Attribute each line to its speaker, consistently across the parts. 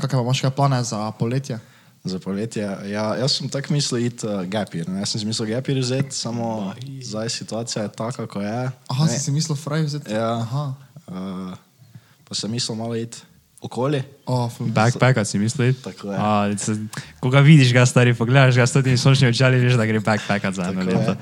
Speaker 1: Kakšne imaš kaj plane za poletje?
Speaker 2: Za poletje. Ja, jaz sem tako mislil iti uh, gapir. ne. Jaz sem si mislil gapir vzeti, samo zdaj situacija je taka, kot je.
Speaker 1: Aha,
Speaker 2: Ne,
Speaker 1: si si mislil fraj vzeti?
Speaker 2: Ja.
Speaker 1: Aha.
Speaker 2: Uh, pa sem mislil malo iti okoli.
Speaker 1: Oh, ful.
Speaker 3: Backpacka si misli.
Speaker 2: Tako je.
Speaker 3: A, se, ko ga vidiš, ga stari pogledaš, ga s totimi sončnimi očali, veš, da gre backpackat za no, eno
Speaker 2: Tako je.
Speaker 3: leto.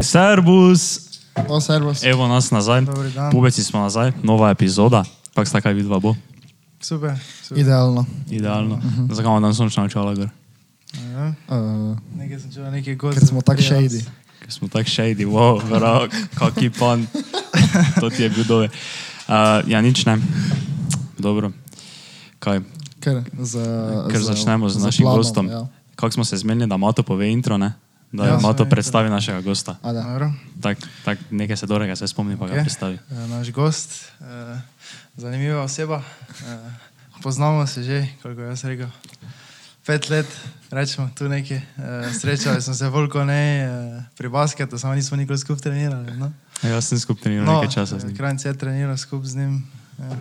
Speaker 3: Servus,
Speaker 1: O, Oh, servus.
Speaker 3: evo nas nazaj.
Speaker 4: Dober dan.
Speaker 3: Pubeci smo nazaj, nova epizoda. Pak sta kaj vidva bo.
Speaker 4: Super. super.
Speaker 1: Idealno.
Speaker 3: Idealno.
Speaker 4: Mhm.
Speaker 3: Zakaj imamo danes sončna očala gor?
Speaker 4: Ja.
Speaker 1: Uh,
Speaker 4: Nekaj sem čutil, nekaj gost.
Speaker 1: ker smo tako shady.
Speaker 3: Ker smo tako shady, wow, verok, kaki pon. To ti je bil dove. Uh, ja, nič ne. Dobro. Kaj?
Speaker 1: Ker, za,
Speaker 3: Ker
Speaker 1: za-
Speaker 3: začnemo z
Speaker 1: za
Speaker 3: našim
Speaker 1: planom,
Speaker 3: gostom.
Speaker 1: Ja.
Speaker 3: Kako smo se zmenili, da Mato pove intro, ne? Da ja,
Speaker 4: Ja,
Speaker 3: Mato
Speaker 4: seveda.
Speaker 3: predstavi našega gosta.
Speaker 1: A da.
Speaker 4: Dobro.
Speaker 3: Tako tak, nekaj se dorega, se spomni, pa ga
Speaker 4: Ok.
Speaker 3: predstavi.
Speaker 4: Eh, Naš gost, eh, zanimiva oseba. eh, Poznamo se že, koliko jaz rekel. Pet let, rečemo tu nekaj. Eh, Srečali smo se veliko ne eh, pri basketu, samo nismo nikoli skupaj trenirali. No?
Speaker 3: Jaz sem skupaj treniral no,
Speaker 4: No,
Speaker 3: nekaj časa z njim.
Speaker 4: Kranj se je treniral skupaj z njim. Ja. Ja,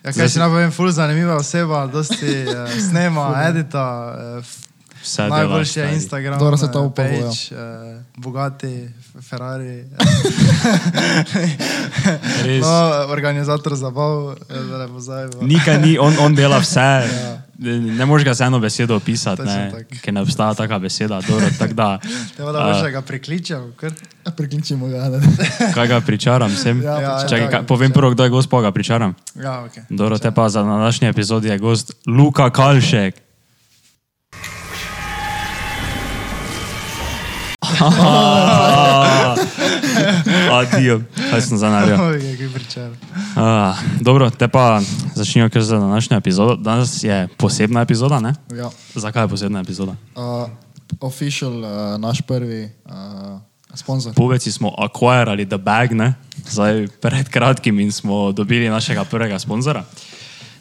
Speaker 3: Zdaj
Speaker 4: kaj
Speaker 3: si-
Speaker 4: si napovem, ful zanimiva oseba, dosti eh, snema, edita, eh, f-
Speaker 3: Vse dela,
Speaker 4: Najboljši je
Speaker 3: stari.
Speaker 4: Instagram,
Speaker 1: Dobro se to ja.
Speaker 4: eh,
Speaker 1: upovojo.
Speaker 4: page, eh, bogati, F- Ferrari.
Speaker 3: Res.
Speaker 4: no, organizator zabav, eh, da ne pozabimo.
Speaker 3: Nika ni, on, on dela vse. Ne moreš ga z eno besedo opisati,
Speaker 4: Ja. Točno
Speaker 3: ne,
Speaker 4: tako.
Speaker 3: ker ne obstaja taka beseda. Dobro, tak da,
Speaker 4: Teba, da
Speaker 3: a,
Speaker 4: boš da ga prikličal, ker
Speaker 1: Ja, Prikličimo ga. ne.
Speaker 3: kaj ga pričaram sem?
Speaker 1: Ja,
Speaker 4: Ja,
Speaker 3: Čakaj,
Speaker 4: ja,
Speaker 3: ka,
Speaker 4: ja,
Speaker 3: povem
Speaker 4: pričaram.
Speaker 3: prvo, kdo je gost, pa ga pričaram.
Speaker 4: ja, okay.
Speaker 3: Dobro, te pa za današnji epizod je gost Luka Kalšek. Ah, Adijo, kaj sem zanaril.
Speaker 4: Oj, kaj pričar.
Speaker 3: Ah, Dobro, te pa začnimo kar za današnjo epizodo. Danes je posebna epizoda, ne?
Speaker 1: Ja.
Speaker 3: Zakaj je posebna epizoda?
Speaker 1: Uh, official, uh, naš prvi uh, sponzor.
Speaker 3: Poveci smo akvarirali The Bag, ne? Zdaj, pred kratkim in smo dobili našega prvega sponzora.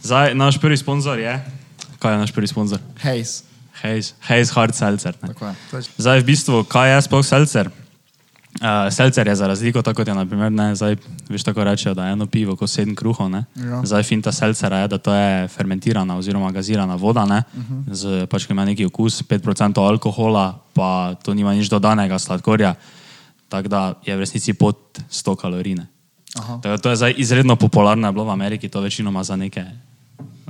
Speaker 3: Zdaj, naš prvi sponzor je. Kaj je naš prvi sponzor?
Speaker 1: Hayes.
Speaker 3: Hayes, Hayes Hard Seltzer. Ne?
Speaker 1: Tako je.
Speaker 3: Zdaj, v bistvu, kaj je sploh selcer? Uh, selcer je za razliko, tako kot je, naprimer, ne, zdaj, veš, tako rečejo, da je eno pivo, kot sedem kruhov. Ne?
Speaker 1: Ja.
Speaker 3: Zdaj, finta selcera je, da to je fermentirana oziroma gazirana voda, ne, uh
Speaker 1: Mhm.
Speaker 3: -huh. z, pač, ki ima neki okus, 5% alkohola, pa to nima nič dodanega sladkorja, tako da je v resnici pod 100 kalorine.
Speaker 1: Aha.
Speaker 3: Tako da To je zdaj izredno popularno, je bilo v Ameriki to večinoma za neke,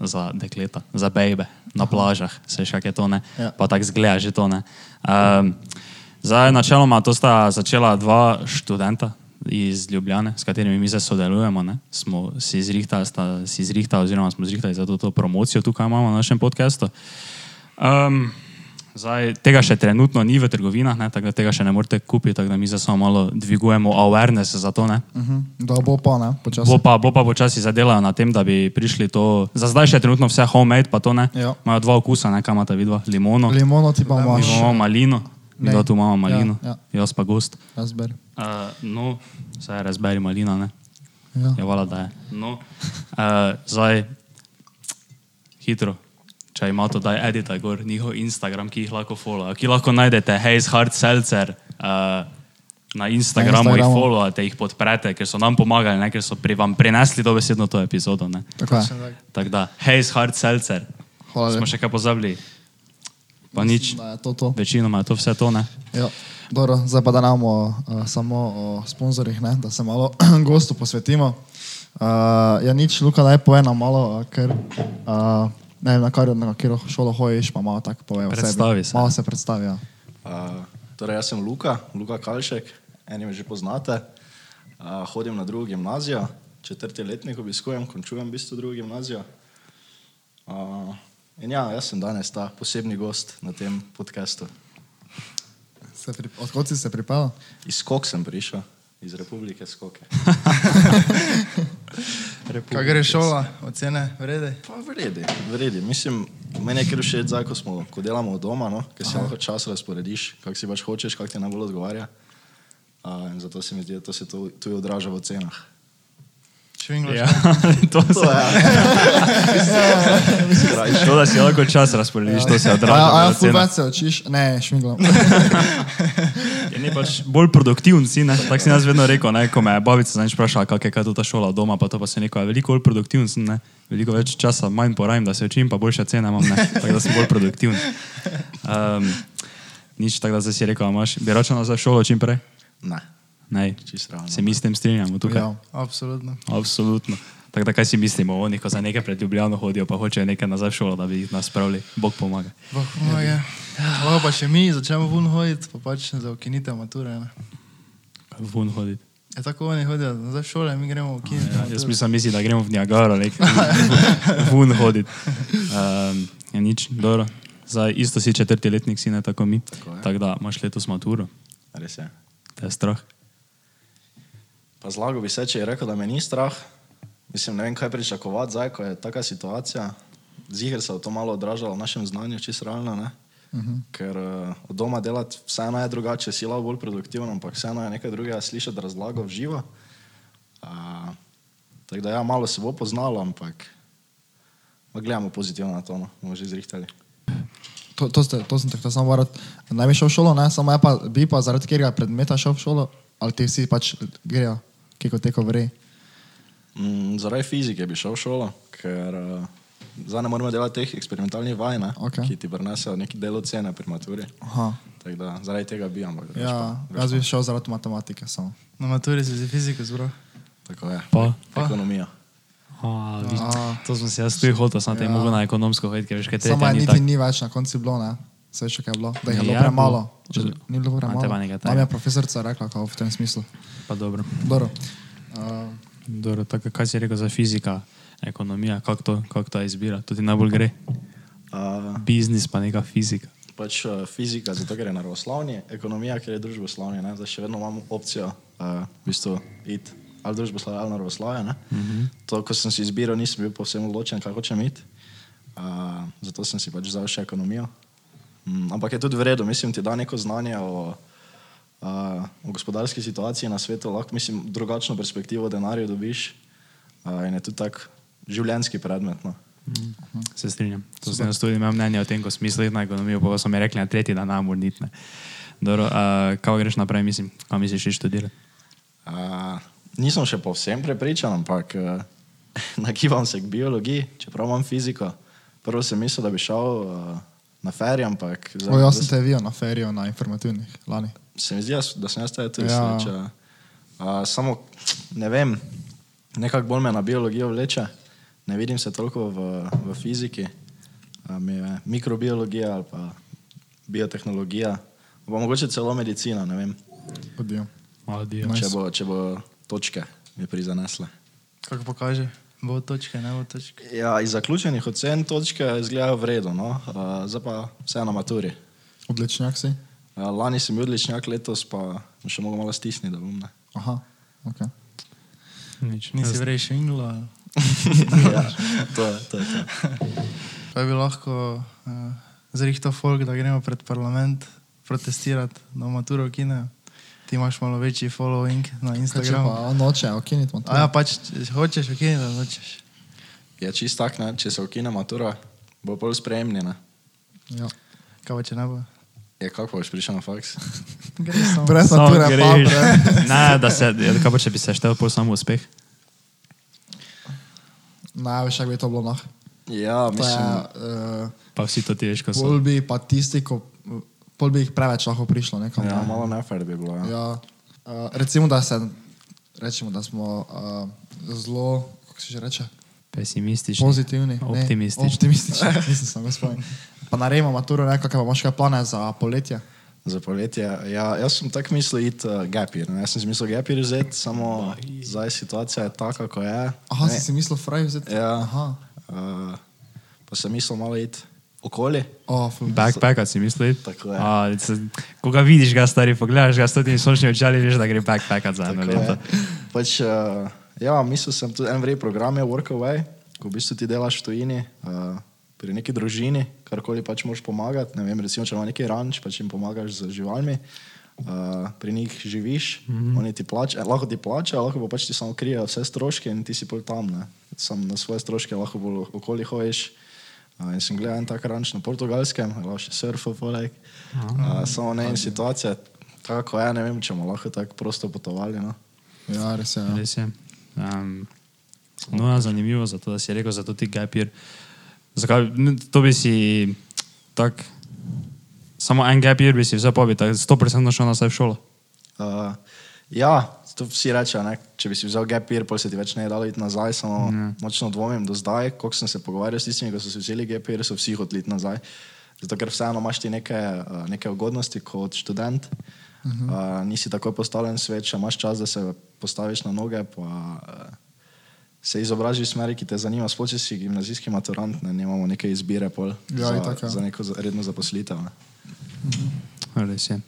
Speaker 3: za dekleta, za bebe na plažah, se še kaj je to ne,
Speaker 1: Ja.
Speaker 3: ja. pa tako zgleda že to ne. Um, zdaj, načeloma, to sta začela dva študenta iz Ljubljane, s katerimi mi zdaj sodelujemo, ne. smo si zrihtali, sta si zrihtali, oziroma smo zrihtali za to, to promocijo tukaj imamo na našem podkastu. Um, zdaj, tega še trenutno ni v trgovinah, ne, tako da tega še ne morete kupiti, tako da mi zdaj samo malo dvigujemo awareness za to. Ne.
Speaker 1: Uh -huh. Da bo pa, ne, počasi.
Speaker 3: Bo pa, bo pa počasi zadelajo na tem, da bi prišli to. Za zdaj še trenutno vse homemade, pa to ne.
Speaker 1: Ja.
Speaker 3: Imajo dva okusa, ne kamata vidva, no. limono,
Speaker 1: Limono ti pa imaš.
Speaker 3: imamo malino,
Speaker 1: Ne.
Speaker 3: mi dva tu imamo malino,
Speaker 1: Ja,
Speaker 3: ja, ja. jaz pa gost.
Speaker 1: Raspberry.
Speaker 3: Uh, no, zdaj razberi malina, ne.
Speaker 1: Ja.
Speaker 3: Je vala, da je. No, uh, zdaj hitro. Če imate, daj edita gor njihov Instagram, ki jih lahko followajo, ki lahko najdete, hej, hard seltzer. Uh, Na Instagramu,
Speaker 1: Na
Speaker 3: na Instagramu. jih
Speaker 1: Instagramu.
Speaker 3: followate, jih podprete, ker so nam pomagali, ne, ker so pri vam prinesli dobesedno to epizodo. ne.
Speaker 1: Tako je.
Speaker 4: Točno tako.
Speaker 3: Tako da, hej, hard seltzer.
Speaker 1: Hvala lepa.
Speaker 3: Smo še kaj pozabili? Pa nič.
Speaker 1: Da je to to.
Speaker 3: Večinoma je to vse to, ne?
Speaker 1: Ja. Dobro, zdaj pa da nam o, uh, samo o sponzorjih, ne, da se malo gostu posvetimo. Uh, ja, nič, Luka, naj poje nam malo, uh, ker uh, ne vem, na kar na katero šolo hojiš, pa malo tako poje. o sebi.
Speaker 3: Predstavi se.
Speaker 1: Malo se predstavi. Ja.
Speaker 2: Uh, torej, jaz sem Luka, Luka Kalšek, eni me že poznate. Uh, hodim na drugo gimnazijo, četrti letnik obiskujem, končujem v bistvu drugo gimnazijo. Uh, in ja, jaz sem danes ta posebni gost na tem podkastu.
Speaker 1: Se pri, odkot si se pripeljal?
Speaker 2: Iz Skok sem prišel, iz Republike Skoke.
Speaker 4: Kaj gre šola, ocene, vrede?
Speaker 2: Pa vredi, vredi. Mislim, meni je kar všeč, zdaj, ko, smo, ko delamo od doma, no, ker si lahko čas razporediš, kako si pač hočeš, kako ti najbolj odgovarja. Uh, in zato se mi zdi, da to se tu- tudi odraža v cenah.
Speaker 4: v angliščini.
Speaker 3: Ja, to se je. To, da si lahko čas razporediš, to se odraža.
Speaker 1: A, a ja,
Speaker 3: v ceno.
Speaker 1: fubat se učiš? Ne, šmiglam.
Speaker 3: Ja, ne, pač bolj produktiven si, ne, tako si nas vedno rekel, ne, ko me je babica zadnjič vprašala, kako je kaj ta šola doma, pa to pa se neko, veliko bolj produktiven sem, ne, veliko več časa manj porajam, da se učim, pa boljša cena imam, ne, tako da sem bolj produktiven. Um, nič tako, da zdaj si rekel, a imaš, bi računal za šolo čim prej?
Speaker 2: Ne,
Speaker 3: Ne,
Speaker 2: čisto ravno.
Speaker 3: se mi s tem strinjamo tukaj.
Speaker 1: Ja.
Speaker 4: No, Absolutno.
Speaker 3: Absolutno. Tako da kaj si mislimo, oni, ko za nekaj pred Ljubljano hodijo, pa hočejo nekaj nazaj v šolo, da bi jih nas spravili. Bog pomaga.
Speaker 4: Bog
Speaker 3: Ja,
Speaker 4: pomaga. Lahko no, ja. pa še mi začnemo vun hoditi, pa pač za ukinitev mature. Ne.
Speaker 3: Vun hoditi.
Speaker 4: Je tako oni hodijo nazaj v šole, mi gremo ukiniti.
Speaker 3: Ja, jaz
Speaker 4: maturo.
Speaker 3: mislim, mislim, da gremo v Niagara, nekaj vun hoditi. Um, ja, nič, dobro. Zdaj, isto si četrti letnik, si ne tako mi.
Speaker 2: Tako je.
Speaker 3: Tako da imaš letos maturo,
Speaker 2: Res je.
Speaker 3: te je strah.
Speaker 2: Pa zlago bi se, če je rekel, da me ni strah. Mislim, ne vem, kaj pričakovati zdaj, ko je taka situacija. Zihar se je to malo odražalo v našem znanju, čisto realno. Ne? Uh -huh. Ker uh, od doma delati vseeno je drugače, si lahko bolj produktiven, ampak vseeno je nekaj drugega slišati razlago v živo. Uh, tako da ja, malo se bo poznalo, ampak pa gledamo pozitivno na to, no. bomo že zrihtali.
Speaker 1: To, to, ste, to sem tako samo varal. Naj bi šel v šolo, ne, samo ja pa bi pa zaradi katerega predmeta šel v šolo, ali ti vsi pač grejo, kiko teko vre.
Speaker 2: Mm, zaradi fizike bi šel v šolo, ker uh, zdaj ne moremo delati teh eksperimentalnih vaj, ne,
Speaker 1: Okej.
Speaker 2: ki ti prinesejo neki delo cene pri maturi.
Speaker 1: Aha.
Speaker 2: Tako da zaradi tega bi, ampak drugače
Speaker 1: Ja,
Speaker 2: pa- drugače
Speaker 1: jaz bi šel zaradi matematike samo.
Speaker 4: Na maturi si za fiziko zbral.
Speaker 2: pa- Tako je.
Speaker 3: Pa?
Speaker 2: Pa? Ekonomija.
Speaker 3: A, viš, to sem se jaz tudi hotel, sem te ja.
Speaker 1: Ja.
Speaker 3: mogel na ekonomsko hoditi, ker veš, kaj te
Speaker 1: Samo je
Speaker 3: ni
Speaker 1: niti
Speaker 3: tako.
Speaker 1: ni več na koncu bilo, ne. Se veš, kaj je bilo, da jih je bilo
Speaker 3: Ja,
Speaker 1: premalo.
Speaker 3: bo-
Speaker 1: Če Ni bilo
Speaker 3: A, teba
Speaker 1: premalo.
Speaker 3: nekaj
Speaker 1: Nam
Speaker 3: tajnega.
Speaker 1: je profesorica rekla, kao v tem smislu.
Speaker 3: Pa dobro.
Speaker 1: Dobro. Uh,
Speaker 3: Dobro, tako kaj si rekel za fizika, ekonomija, kako to, kako ta izbira, to ti najbolj gre.
Speaker 2: Uh,
Speaker 3: Biznis pa neka fizika.
Speaker 2: pač uh, fizika, zato ker je naravoslavni, ekonomija, ker je družboslavni. ne. Zdaj še vedno imamo opcijo, uh, v bistvu, iti ali družboslavje ali naravoslavje. Uh -huh. To, ko sem si izbiral, nisem bil povsem odločen, kako hočem iti. Uh, zato sem si pač vzel še ekonomijo. Mm, ampak je tudi v redu, mislim, ti da neko znanje o, uh, o gospodarski situaciji na svetu, lahko mislim, drugačno perspektivo o denarju dobiš. Uh, in je tudi tak življenjski predmet. No.
Speaker 3: Mhm. Se strinjam. To sem jaz tudi imel mnenje o tem, ko smo mislili na ekonomijo, pa so mi rekli na tretji dan, amor nitne. Dobro, uh, kako greš naprej, mislim, kam misliš iti študirati?
Speaker 2: Uh, nisem še povsem prepričan, ampak uh, nagibam se k biologiji, čeprav imam fiziko. Prvo sem mislil, da bi šel uh, na ferij, ampak zdaj-
Speaker 1: o, jaz sem te videl na ferijo na informativnih lani.
Speaker 2: se mi zdi, da s- da sem jaz tebe tudi
Speaker 1: Ja.
Speaker 2: ja. sreča. Uh, samo ne vem, nekako bolj me na biologijo vleče, ne vidim se toliko v, v fiziki. Uh, mi je mikrobiologija ali pa biotehnologija, pa mogoče celo medicina, ne vem,
Speaker 1: Odijo.
Speaker 3: Odijo.
Speaker 1: Ja, Nice.
Speaker 2: če bo, če bo točke mi prizanesle.
Speaker 4: Kako pokaže? Bo točke, ne bo točke.
Speaker 2: Ja, iz zaključenih ocen točke izgledajo v redu, no? uh, zdaj pa vse na maturi.
Speaker 1: Odličnjak si?
Speaker 2: Uh, lani sem bil odličnjak, letos pa bom še mogo malo stisniti, da bom ne.
Speaker 1: Aha, ok.
Speaker 3: Nič.
Speaker 4: Nisi
Speaker 3: Jaz-
Speaker 4: vreš ingla.
Speaker 2: ja, to je to. Je, to.
Speaker 4: Kaj bi lahko uh, zrihtal folk, da gremo pred parlament protestirati, da maturo ukinejo. Ti imaš malo večji following na
Speaker 1: Kaj če
Speaker 4: Instagramu.
Speaker 1: pa on noče ukiniti maturo?
Speaker 4: A ja, pač če hočeš ukiniti, da hočeš.
Speaker 2: je čist tak, ne? če se ukine matura, bo bolj spremljena.
Speaker 1: ja.
Speaker 4: Kaj pa če ne bo?
Speaker 2: Je kako boš prišel na faks?
Speaker 4: Gre samo.
Speaker 1: Brez
Speaker 3: Samo
Speaker 1: mature, pa
Speaker 3: greš.
Speaker 1: brez.
Speaker 3: Ne, da se, ja, kaj pa če bi se štel pol samo uspeh?
Speaker 1: Ne, veš, kako bi to bilo nah.
Speaker 2: Ja,
Speaker 1: To je,
Speaker 2: mislim,
Speaker 1: uh,
Speaker 3: Pa vsi to ti veš, ko
Speaker 1: pol
Speaker 3: so.
Speaker 1: bi pa tisti, ko, pol bi jih preveč lahko prišlo nekam.
Speaker 2: ja,
Speaker 1: ne.
Speaker 2: malo nefer bi bilo. Ja. Ja.
Speaker 1: Ja. Uh, recimo, da se, rečemo, da smo uh, zelo, kako se že reče,
Speaker 3: Pesimistični.
Speaker 1: pozitivni. ne,
Speaker 3: Optimistični.
Speaker 1: Optimistični, nisem sam gospodin. Pa naredimo maturo, ne, kakšne pa imaš kaj plane za poletje.
Speaker 2: Za poletje. Ja, jaz sem tako mislil iti uh, gapir. ne. Jaz sem si mislil gapir vzeti, samo zdaj situacija je taka, kot je.
Speaker 1: Aha,
Speaker 2: Ne,
Speaker 1: si si mislil fraj vzeti?
Speaker 2: Ja.
Speaker 1: Aha.
Speaker 2: Uh, pa sem mislil malo iti okoli.
Speaker 1: Oh, ful.
Speaker 3: Backpackat si misli?
Speaker 2: Tako je.
Speaker 3: A, se- Ko ga vidiš, ga stari pogledaš, ga s totimi sončnimi očali, veš, da gre backpackat za eno
Speaker 2: Tako
Speaker 3: leto.
Speaker 2: je. Pač, uh, ja, mislil sem tudi en vrej program je Workaway, ko v bistvu ti delaš v tujini, uh, pri neki družini, karkoli pač moraš pomagati. Ne vem, recimo, če ima neki ranč, pač jim pomagaš z živalmi. Uh, pri njih živiš, mm -hmm. oni ti plačajo, lahko ti plačajo, lahko pa pač ti samo krijejo vse stroške in ti si pol tam, ne. Sam na svoje stroške lahko bolj okoli hojiš. Uh, in sem gledal en tak ranč na portugalskem, lahko še surfal poleg. Uh, samo ne in situacija, tako je, ne vem, če bomo lahko tako prosto potovali, no.
Speaker 1: Ja, res je. Ja.
Speaker 3: Res je. Um, no, ja, zanimivo, zato, da si rekel, zato ti gapir. Zakaj, n- to bi si tak, samo en gapir bi si vzel, pa bi tako 100% šel nazaj v šolo.
Speaker 2: Uh, ja, to vsi rečejo, ne, če bi si vzel gap year, pol se ti več ne je dalo iti nazaj, samo
Speaker 1: Ja.
Speaker 2: mm. močno dvomim do zdaj, koliko sem se pogovarjal s tistimi, ki so si vzeli gap year, so vsi hoteli iti nazaj. Zato, ker vseeno imaš ti neke, uh, neke ugodnosti kot študent, uh
Speaker 1: Mhm.
Speaker 2: -huh. uh, nisi tako postavljen svet, še imaš čas, da se postaviš na noge, pa uh, se izobraziš v smeri, ki te zanima. Sploh če si gimnazijski maturant, ne, nimamo neke izbire pol
Speaker 1: Ja,
Speaker 2: za,
Speaker 1: itak, ja.
Speaker 2: za neko za- redno zaposlitev. Ne.
Speaker 3: Res je.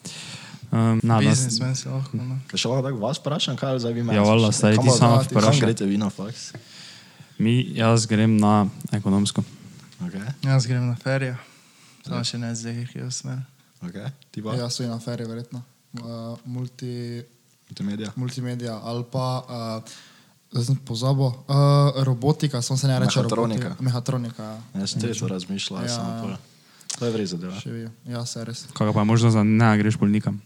Speaker 3: Um, na, da,
Speaker 4: Biznismen si lahko. No.
Speaker 2: Kaj Še lahko tako vas vprašam, kaj za vi meni?
Speaker 3: Ja, valjda, saj ti samo vprašaj.
Speaker 2: Kam greste vi na faks?
Speaker 3: mi, jaz grem na ekonomsko.
Speaker 2: Okay.
Speaker 1: Ja,
Speaker 4: Jaz grem na ferijo, samo še ne zdaj, ki je usmer.
Speaker 2: Okay. Ti pa?
Speaker 1: Ja, so in afere, verjetno. Uh, multi,
Speaker 2: Multimedija.
Speaker 1: multimedija ali pa, uh, zdaj sem pozabil, uh, robotika, samo se ne reče
Speaker 2: Mehatronika.
Speaker 1: robotika. Mehatronika. ja.
Speaker 2: Jaz sem tudi razmišljal,
Speaker 1: Ja.
Speaker 2: ja. samo to. To je vrej zadeva.
Speaker 1: Še vi. Ja, se res.
Speaker 3: Kaj pa je možnost, da ne greš bolj nikam?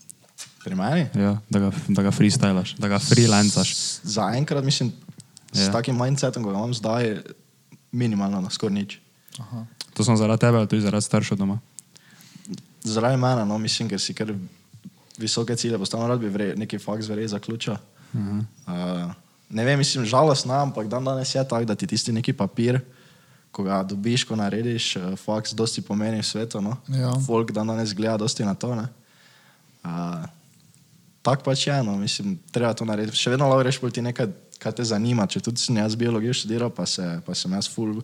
Speaker 2: Pri meni?
Speaker 3: Ja, da ga, da ga freestylaš, da ga freelancaš.
Speaker 2: S- Zaenkrat mislim, s
Speaker 3: Ja.
Speaker 2: takim mindsetom, ko ga imam zdaj, minimalno na skoraj nič.
Speaker 1: Aha.
Speaker 3: To sem zaradi tebe, ali tudi zaradi staršev doma.
Speaker 2: Zaradi mene, no, mislim, ker si kar visoke cilje postavljam, rad bi vrej, neki faks vrej zaključil.
Speaker 3: Mhm.
Speaker 2: Uh, ne vem, mislim, žalostno, ampak dan danes je tako, da ti tisti neki papir, ko ga dobiš, ko narediš, eh, faks dosti pomeni v svetu. No?
Speaker 1: Ja.
Speaker 2: Folk dan danes gleda dosti na to. ne. Uh, tako pač je, no, mislim, treba to narediti. Še vedno lahko rečeš, pol ti nekaj, kar te zanima. Če tudi sem jaz biologijo študiral, pa, se, pa sem jaz full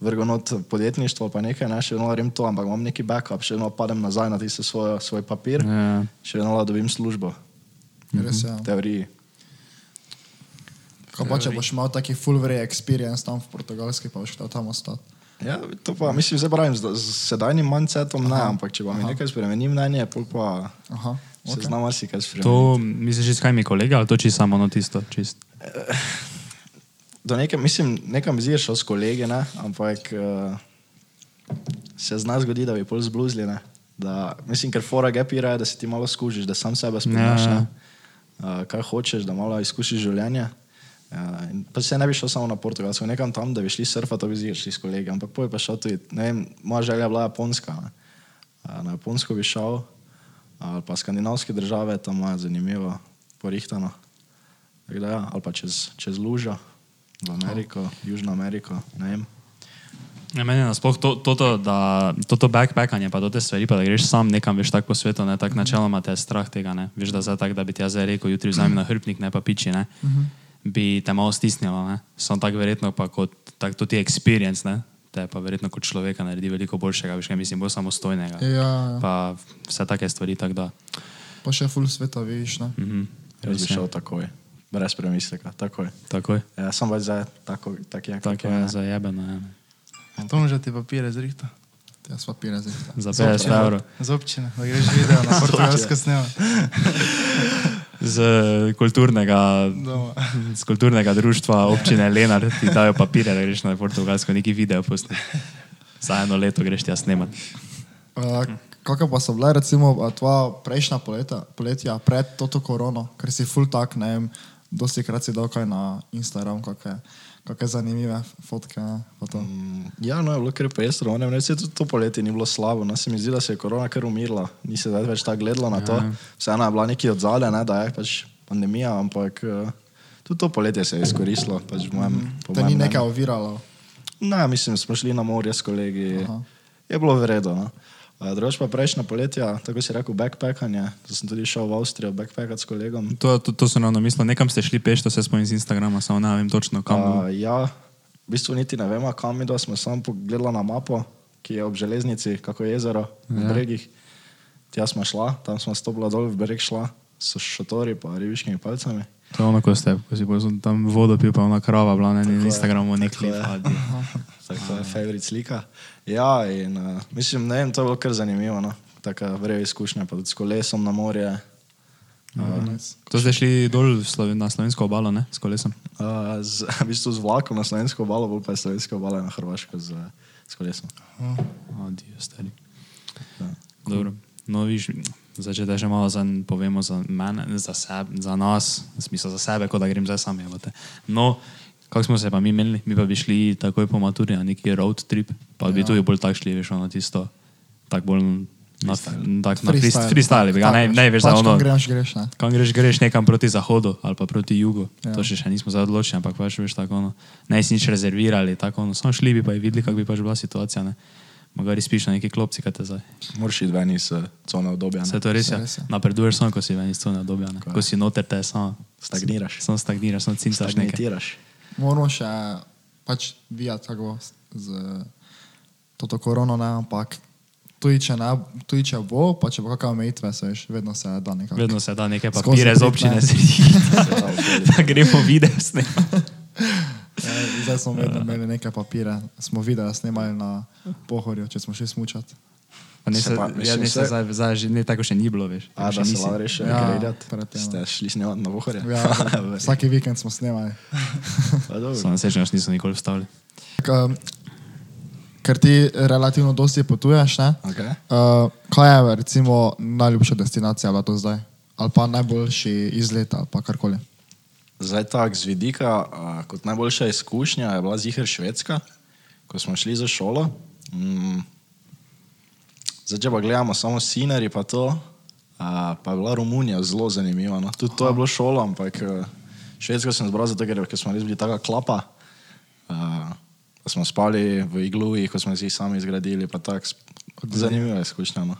Speaker 2: vrgel not podjetništvo, pa nekaj, ne, še vedno rečem to, ampak imam neki backup, še vedno padem nazaj na tisti svoj, svoj papir,
Speaker 3: Ja.
Speaker 2: še vedno lahko dobim službo,
Speaker 1: Res je.
Speaker 2: v
Speaker 1: Ja.
Speaker 2: teoriji.
Speaker 1: Kaj pa, če boš imel taki full vrej experience tam v portugalski, pa boš hotel tam ostati.
Speaker 2: Ja, to pa mislim, zdaj pravim, z, z sedajnim mindsetom ne, ampak če pa mi nekaj spremeni mnenje, pol pa
Speaker 1: Aha.
Speaker 2: se
Speaker 1: Okay.
Speaker 2: znam marsikaj spremeniti.
Speaker 3: To misliš, iskaj mi kolega, ali to čisto samo ono tisto? Čist?
Speaker 2: do neke, mislim, nekam zir šel s kolegi, ne? ampak uh, se zna zgoditi, da bi pol zbluzli. Ne? Da, mislim, ker fora gepira je, da se ti malo skužiš, da sam sebe spoznaš,
Speaker 3: Ja, ja.
Speaker 2: ja. uh, kaj hočeš, da malo izkušiš življenje. Uh, in pa se ne bi šel samo na Portugalsko, nekam tam, da bi šli surfati, to bi zir šli s kolegi, ampak poj pa šel tudi, ne vem, moja želja je bila Japonska. Ne? Uh, na Japonsko bi šel, ali pa skandinavske države, tam imajo zanimivo, porihtano. Tako Da, ja, ali pa čez, čez lužo v Ameriko, oh. Južno Ameriko, ne vem.
Speaker 3: Ja, meni je nasploh to, to, to, da, to, to backpackanje, pa te stvari, pa da greš sam nekam, veš tako po svetu, ne tako načeloma te je strah tega, ne. Veš, da, zdaj tako, da bi ti jaz zdaj rekel, jutri vzamem na hrbnik, ne pa piči, ne. Bi te malo stisnilo, ne. Sam tako verjetno pa kot, tak to ti je experience, ne. Te pa verjetno kot človeka naredi veliko boljšega, veš, kaj mislim, bolj samostojnega.
Speaker 1: Ja, ja.
Speaker 3: Pa vse take stvari, tako da.
Speaker 1: pa še full sveta, vidiš. no. Ne?
Speaker 3: Mhm.
Speaker 2: Jaz bi
Speaker 3: Res je.
Speaker 2: šel takoj, brez premisleka, takoj.
Speaker 3: Takoj.
Speaker 2: Ja, sem pač zdaj tako, tak je,
Speaker 3: Tako je zajebeno, ja.
Speaker 4: Tom že ti papire zrihta.
Speaker 1: Jaz pa pire zdaj.
Speaker 3: Za 50 evrov.
Speaker 4: Z občine, da greš video na portugalsko snemati.
Speaker 3: Z kulturnega
Speaker 4: Doma.
Speaker 3: Z kulturnega društva občine Lenar ti dajo papirje, da greš na portugalsko neki video pusti. Za eno leto greš ti jaz snemat.
Speaker 1: Uh, Kakšne pa so bile, recimo, a, tvoja prejšnja poleta, poletja, pred to korono, ker si full tak, ne vem, dosti krat si dal kaj na Instagram, kakšne, kakšne zanimive fotke. Ne, pa to.
Speaker 3: Mm,
Speaker 2: Ja, no, je bilo kar pestro, ne vem, se tudi to poletje ni bilo slabo, no, se mi zdi, da se je korona kar umirila, ni se zdaj več tako gledalo na to. Vseeno je bila neki odzale, ne, da je pač pandemija, ampak eh, tudi to poletje se je izkoristilo, pač v mojem. po
Speaker 1: Te
Speaker 2: mojem
Speaker 1: ni
Speaker 2: mnenju.
Speaker 1: nekaj oviralo.
Speaker 2: Ne, mislim, smo šli na morje s kolegi,
Speaker 1: Aha.
Speaker 2: Aha. je bilo vredno. No? Drugič pa prejšnja poletja, tako si rekel, backpackanje, da sem tudi šel v Avstrijo backpackati s kolegom.
Speaker 3: To, to, to sem ravno mislil, nekam ste šli peš, to se spomnim z Instagrama, samo ne vem točno kam.
Speaker 2: A, ja, v bistvu niti ne vemo, kam idemo, smo samo pogledali na mapo, ki je ob železnici, kako je jezero, na bregih. Tja smo šla, tam smo stopila dol v breg šla, s šotori pa ribiškimi palcami.
Speaker 3: To je ono, ko ste, ko si pozum, tam vodo pil, pa ona krava bila na enem
Speaker 2: je,
Speaker 3: Instagramu, nek
Speaker 2: tako
Speaker 3: klip.
Speaker 2: je.
Speaker 3: adi.
Speaker 2: Tako je favorit slika. Ja, in uh, mislim, ne vem, to je bilo kar zanimivo. No? Taka vreva izkušnja, pa tudi s kolesom na morje.
Speaker 1: Ja, nice.
Speaker 3: To ste šli dol v Sloven na slovensko obalo, ne? S kolesom.
Speaker 2: Uh, z, v bistvu z vlakom na slovensko obalo, bolj pa je slovenska obala na Hrvaško z, z kolesom.
Speaker 3: Adijo, stari.
Speaker 2: Ja.
Speaker 3: Dobro. No, viš, zdaj, če te še malo za, povemo za, mene, za, sebe, za nas, v smislu za sebe, kot da grem zdaj sam. jebote. No, kako smo se pa mi menili, mi pa bi šli takoj po maturi na neki road trip, pa bi ja. tudi bolj tak šli, veš, ono tisto, tako bolj na, tak, na freestyle, freestyle bi ga,
Speaker 1: Tako,
Speaker 3: ne, ne veš, za
Speaker 1: pač, kam
Speaker 3: ono.
Speaker 1: Greš, greš, ne.
Speaker 3: Kam greš, greš nekam proti zahodu ali pa proti jugu. Ja.
Speaker 1: Ja.
Speaker 3: To še, še nismo zdaj odločili, ampak pač veš tako, ono, ne si nič rezervirali, tako ono, samo šli bi pa in videli, kakšna bi pač bila situacija. Ne? Magari spiš na neki klopci, kaj te zdaj.
Speaker 2: Moraš iti ven iz eh, cone obdobja.
Speaker 3: Vse
Speaker 2: ne?
Speaker 3: to res je.
Speaker 1: Res je.
Speaker 3: Napreduješ samo, ko si ven iz tega obdobja.
Speaker 2: Tako je.
Speaker 3: Ko si noter, te samo
Speaker 2: Stagniraš.
Speaker 3: Samo stagniraš, samo cintaš nekaj.
Speaker 2: Stagnitiraš.
Speaker 1: Moramo še pač vijati tako s- z to, to korono, ne, ampak tudi če, ne, tudi če bo, pa če bo kakšne omejitve, se veš, vedno se da nekako.
Speaker 3: Vedno se da nekaj
Speaker 1: Skozi
Speaker 3: papirja z
Speaker 1: priti,
Speaker 3: občine,
Speaker 1: ne.
Speaker 2: da okoli.
Speaker 3: da gremo videti. ne.
Speaker 1: Ja, Zdaj smo vedno imeli neke papire, smo videli, snemali na pohorju, če smo šli smučati.
Speaker 3: Pa Ne,
Speaker 2: Se
Speaker 3: se,
Speaker 2: pa,
Speaker 3: ja,
Speaker 2: mislim,
Speaker 3: ne, se,
Speaker 2: se-
Speaker 3: zdaj, zdaj, že ne tako še ni bilo, veš.
Speaker 2: A,
Speaker 3: Tako še
Speaker 2: da se
Speaker 3: nisi.
Speaker 2: lahko reši,
Speaker 1: Ja,
Speaker 2: ja, gledati.
Speaker 1: pred tem.
Speaker 2: Ste šli snemati na vohorje?
Speaker 1: Ja, vsaki vikend smo snemali.
Speaker 2: Pa dobro.
Speaker 3: Samo srečno, da niso nikoli vstavili.
Speaker 1: K, eh, ker ti relativno dosti potuješ, ne?
Speaker 2: Okay.
Speaker 1: Uh, kaj je recimo najljubša destinacija bila do zdaj? Ali pa najboljši izlet ali pa karkoli?
Speaker 2: Zdaj tak, z vidika, a, kot najboljša izkušnja je bila zihar Švedska, ko smo šli za šolo. Mm. Zdaj, če pa gledamo samo Sinari, pa to, a, pa je bila Romunija zelo zanimiva. No. Tudi to je bilo šolo, ampak eh, Švedsko sem zbral zato, ker, ker smo res bili taka klapa. A, pa smo spali v igluji, ko smo si jih sami izgradili, pa tako. sp- Zanimiva izkušnja. No.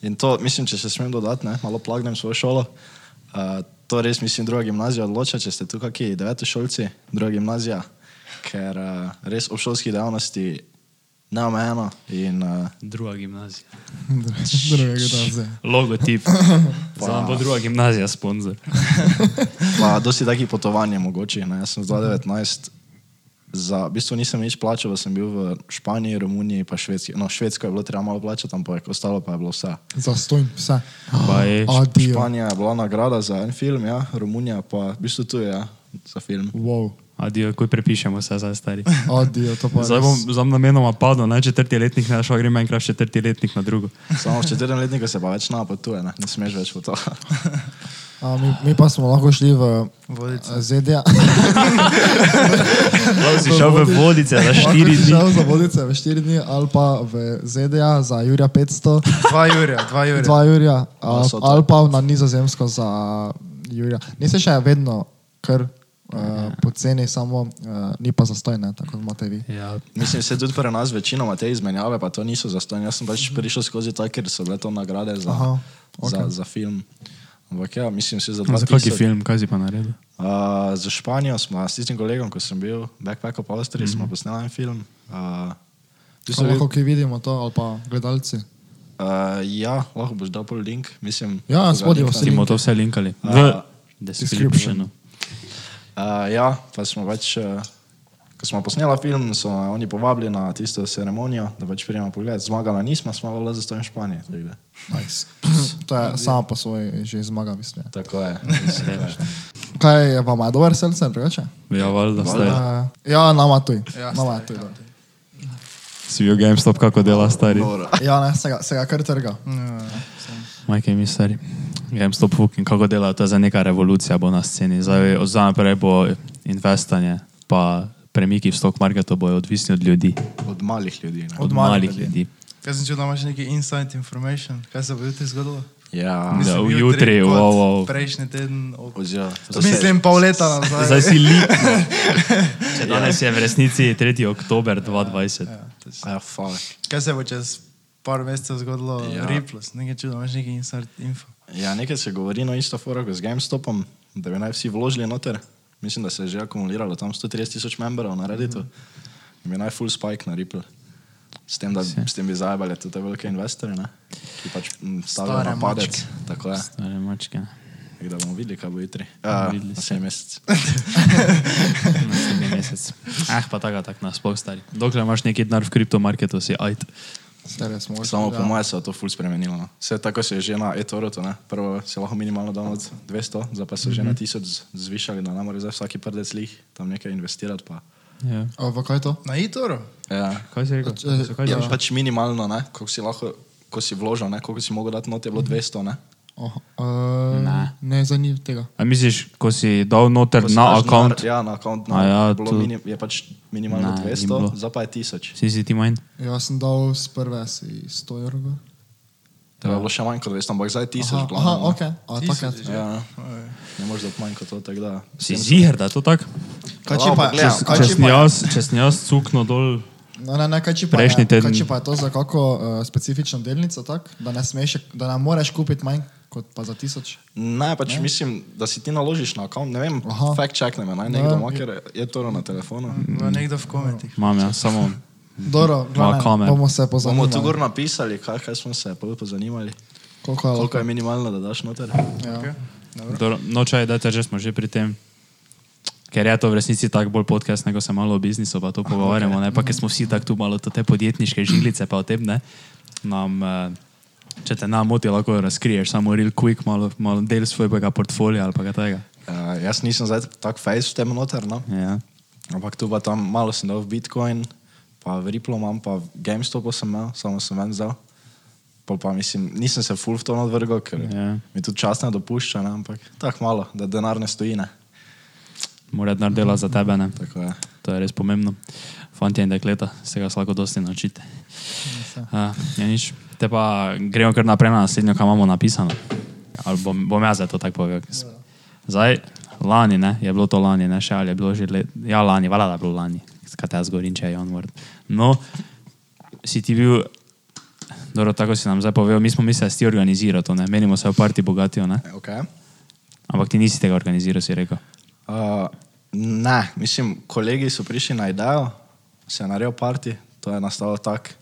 Speaker 2: In to, mislim, če se smem dodati, ne, malo plagnem svojo šolo. Uh, to res mislim, druga gimnazija odloča, če ste tu kakšni devetošolci, druga gimnazija, ker uh, res ob šolski dejavnosti neomejeno in uh,
Speaker 3: Druga gimnazija.
Speaker 1: Drugega gimnazija.
Speaker 3: Logotip. Zdaj bo druga gimnazija sponzor.
Speaker 2: pa dosti takih potovanj je mogoče. Ne. Jaz sem zdaj 19, za, v bistvu nisem nič plačal, pa sem bil v Španiji, Romuniji, pa Švedski. No, Švedsko je bilo treba malo plačati, ampak ostalo pa je bilo vse.
Speaker 1: Zastojim vse.
Speaker 3: Pa je-
Speaker 1: Adijo.
Speaker 2: Španija je bila nagrada za en film, ja, Romunija pa v bistvu tu je ja, za film.
Speaker 1: Wow.
Speaker 3: Adijo, ko prepišemo vse zdaj stari.
Speaker 1: Adijo, to pa je.
Speaker 3: Zdaj bom zam namenoma padel, ne četrti letnik, ne šel grem enkrat četrti letnik na drugo.
Speaker 2: Samo v četrtem letniku se pa več ne potuje, ne, ne smeš več potovati.
Speaker 1: A, mi, mi pa smo lahko šli v eh,
Speaker 4: Vodice.
Speaker 1: ZDA.
Speaker 3: Prav si šel v vodice za
Speaker 1: Lahko
Speaker 3: štiri
Speaker 1: si
Speaker 3: dni.
Speaker 1: Šel za vodice v 4 dni ali pa v ZDA za Jurija 500,
Speaker 4: Dva Jurija, dva Jurija.
Speaker 1: 2 Jurija, a,
Speaker 2: Lesotho.
Speaker 1: eh, ali pa na Nizozemsko za Jurija. Nisi še vedno kar uh, poceni, samo uh, ni pa zastojne, tako kot imate vi.
Speaker 3: Ja,
Speaker 2: Mislim, se tudi pri nas večinoma te izmenjave, pa to niso zastojne. Jaz sem pač prišel skozi to, ker so bile to nagrade za,
Speaker 1: Aha,
Speaker 2: okay. za,
Speaker 1: okej.
Speaker 2: za film. Ampak ja, mislim, se za dva
Speaker 3: za kaki film, kaj si pa naredil?
Speaker 2: Uh, za Španijo smo s tistim kolegom, ko sem bil backpack po Avstriji, mm -hmm. smo posneli en film. Uh, tu
Speaker 1: Če
Speaker 2: so bil-
Speaker 1: Mhm. lahko ki vidimo to, ali pa gledalci.
Speaker 2: uh, ja, lahko boš dal pol link, mislim.
Speaker 1: Ja,
Speaker 2: ko ga
Speaker 1: spodaj bo
Speaker 2: link na-
Speaker 1: Linke.
Speaker 3: Simo to vse linkali. V
Speaker 2: A,
Speaker 3: descriptionu.
Speaker 2: Uh, ja, pa smo pač, uh, ko smo posneli film, so me oni povabili na tisto ceremonijo, da pač prijemo pogled. Zmagala nismo, smo pa le zastojen Španije. tako da.
Speaker 1: Nice. to je samo po svoji že zmaga, mislim. ja.
Speaker 2: Tako je.
Speaker 1: Kaj je vam, je dober selce, drugače?
Speaker 3: Ja, valjda, stari.
Speaker 1: Ja, ja nama tuj.
Speaker 4: Ja,
Speaker 1: nama tuj.
Speaker 4: stari,
Speaker 1: da.
Speaker 3: Si bil GameStop, kako dela stari.
Speaker 2: Dobro.
Speaker 1: Ja, ne, se ga, se ga kar trga.
Speaker 4: Ja,
Speaker 3: Majke mi stari. GameStop fucking kako dela, to je za neka revolucija bo na sceni. Zdaj, od zdaj naprej bo investanje, pa premiki v stock marketu bojo odvisni od ljudi,
Speaker 2: Od malih ljudi. Ne?
Speaker 3: od, od malih ljudi. ljudi.
Speaker 4: Kaj sem čutil, da imaš neki insight information, kaj se bo jutri zgodilo?
Speaker 2: Ja,
Speaker 3: Ja.
Speaker 4: Mislim,
Speaker 3: v jutri,
Speaker 4: kot
Speaker 3: wow, wow.
Speaker 4: Prejšnji teden, ob...
Speaker 2: oziroma.
Speaker 4: mislim, pol leta nazaj.
Speaker 3: Zdaj si lik. Če danes je v resnici 3. oktober 2020.
Speaker 2: Ja, fuck.
Speaker 4: Kaj se bo čez par mesecev zgodilo?
Speaker 2: Ja.
Speaker 4: Ja. Riplus, nekaj čudo, imaš neki insert info.
Speaker 2: Ja, nekaj se govori na isto foro kot z GameStopom, da bi naj vsi vložili noter. Mislim, da se je že akumuliralo tam 130 tisoč membrov na Redditu. In bi naj full spike na Ripple. S tem, da, s tem bi zajabali tudi te velike investorje, ne? ki pač m, stavijo
Speaker 4: Stare
Speaker 2: na padec.
Speaker 4: mačke.
Speaker 2: Tako je.
Speaker 3: Stare mačke. ne.
Speaker 2: Tako da bomo videli, kaj bo jutri. Ja,
Speaker 3: videli
Speaker 2: vse mesec.
Speaker 3: Naslednji mesec. Ah, pa tako, tako nasploh stari. Dokler imaš neki denar v kriptomarketu, si ajt.
Speaker 1: Saj res mogoče,
Speaker 2: Samo
Speaker 1: da.
Speaker 2: po mojem se je to ful spremenilo. no. Vse tako se je že na e-torotu, ne. prvo se lahko minimalno dal od 200, zdaj pa so že na 1000 z- zvišali, da nam mora zdaj vsaki prdec lih tam nekaj investirati. Pa.
Speaker 3: Ja.
Speaker 1: A v kaj je to?
Speaker 4: Na Itoru?
Speaker 2: Ja.
Speaker 3: Kaj si rekel?
Speaker 1: Pač, eh,
Speaker 3: Zakaj
Speaker 2: Ja,
Speaker 3: si rekel?
Speaker 2: pač minimalno, ne, koliko si lahko, ko si vložil, ne, koliko si mogel dati not, je bilo 200, ne.
Speaker 1: Oh, uh,
Speaker 3: Ne.
Speaker 1: ne, zdaj ni tega.
Speaker 3: A misliš, ko si dal noter
Speaker 2: Ko si
Speaker 3: na
Speaker 2: daš
Speaker 3: račun,
Speaker 2: denar- Ja, na account, no,
Speaker 3: A ja,
Speaker 2: ja, bilo,
Speaker 3: to-
Speaker 2: mini, je Ja. pač minimalno
Speaker 3: Ne, ni
Speaker 2: 200,
Speaker 3: bilo.
Speaker 2: zdaj pa je 1000.
Speaker 3: si si ti manj?
Speaker 1: Jaz Ja, sem dal s prve si 100 evrov. gor.
Speaker 2: To Torej je bilo še manj kot 200, ampak zdaj je 1000.
Speaker 1: Aha, aha,
Speaker 2: glavno, ne.
Speaker 1: ok. A, takrat.
Speaker 4: Tisoč,
Speaker 2: Ja, ne moreš dati manj kot to, tako da.
Speaker 3: Si ziger, da je to tako?
Speaker 1: Kaj če pa,
Speaker 2: Ja,
Speaker 1: kaj
Speaker 3: če
Speaker 1: če
Speaker 3: sem
Speaker 1: pa,
Speaker 3: jaz, če sem jaz cukno dol,
Speaker 1: no, ne, ne, kaj če pa, je-
Speaker 3: Prejšnji teden.
Speaker 1: Kaj če pa je to za kako uh, specifično delnico, tak, da, ne smeš, da ne moreš kupiti manj kot pa za 1000?
Speaker 2: Ne, pač ne. mislim, da si ti naložiš na račun, ne vem,
Speaker 1: Aha.
Speaker 2: fakt čakne me, naj nekdo ima, ker je to na telefonu.
Speaker 4: Bo nekdo v komentih.
Speaker 3: imam ja, samo
Speaker 1: Doro,
Speaker 3: kamen.
Speaker 1: glavne, bomo se
Speaker 2: Bomo tu
Speaker 1: pozornili.
Speaker 2: gor napisali, kaj, kaj smo se prvi pozanimali,
Speaker 1: Koliko je
Speaker 2: koliko
Speaker 1: lahko?
Speaker 2: je minimalno, da daš noter.
Speaker 1: Ja.
Speaker 4: Okay.
Speaker 3: Dobro, Nočaj, da te že smo že pri tem. Ker je to v resnici tako bolj podcast, nego se malo o biznisu pa to pogovarjamo, okay. ne pa ker smo vsi tako tu malo to te podjetniške žilice, pa o tem ne. Nam, eh, če te nam moti, lahko razkriješ samo real quick, malo, malo del svojega portfolija ali pa kaj tega.
Speaker 2: Uh, jaz nisem zdaj tako fejs v tem noter, no?
Speaker 3: Ja.
Speaker 2: ampak tu pa tam malo sem dal v Bitcoin, pa v Ripple imam, pa v GameStopu sem imel, samo sem ven zdal. Pa, pa mislim, nisem se full v to odvrgel, ker
Speaker 3: Ja.
Speaker 2: mi tudi čas ne dopušča, ne? ampak tako malo, da denar ne stoji. Ne?
Speaker 3: Mora denar delati za tebe, ne.
Speaker 2: Tako je.
Speaker 3: To je res pomembno. Fantje in dekleta se ga lahko dosti naučite. Uh, ja, nič. Te pa gremo kar naprej na naslednjo, kar imamo napisano. Ali bom, bom jaz zdaj to tako povedal? ker sem- Zdaj, lani ne, je bilo to lani, ne še ali je bilo že let. Ja, lani, vala da je bilo lani, skratka jaz govorim, če je on vrt. No, si ti bil, dobro, tako si nam zdaj povedal, mi smo mislili, da si ti organiziral to, ne, menimo se v parti bogatijo, ne,
Speaker 2: Okay.
Speaker 3: ampak ti nisi tega organiziral, si rekel.
Speaker 2: Uh, ne, mislim, kolegi so prišli na idejo, se je naredil parti, to je nastalo tako.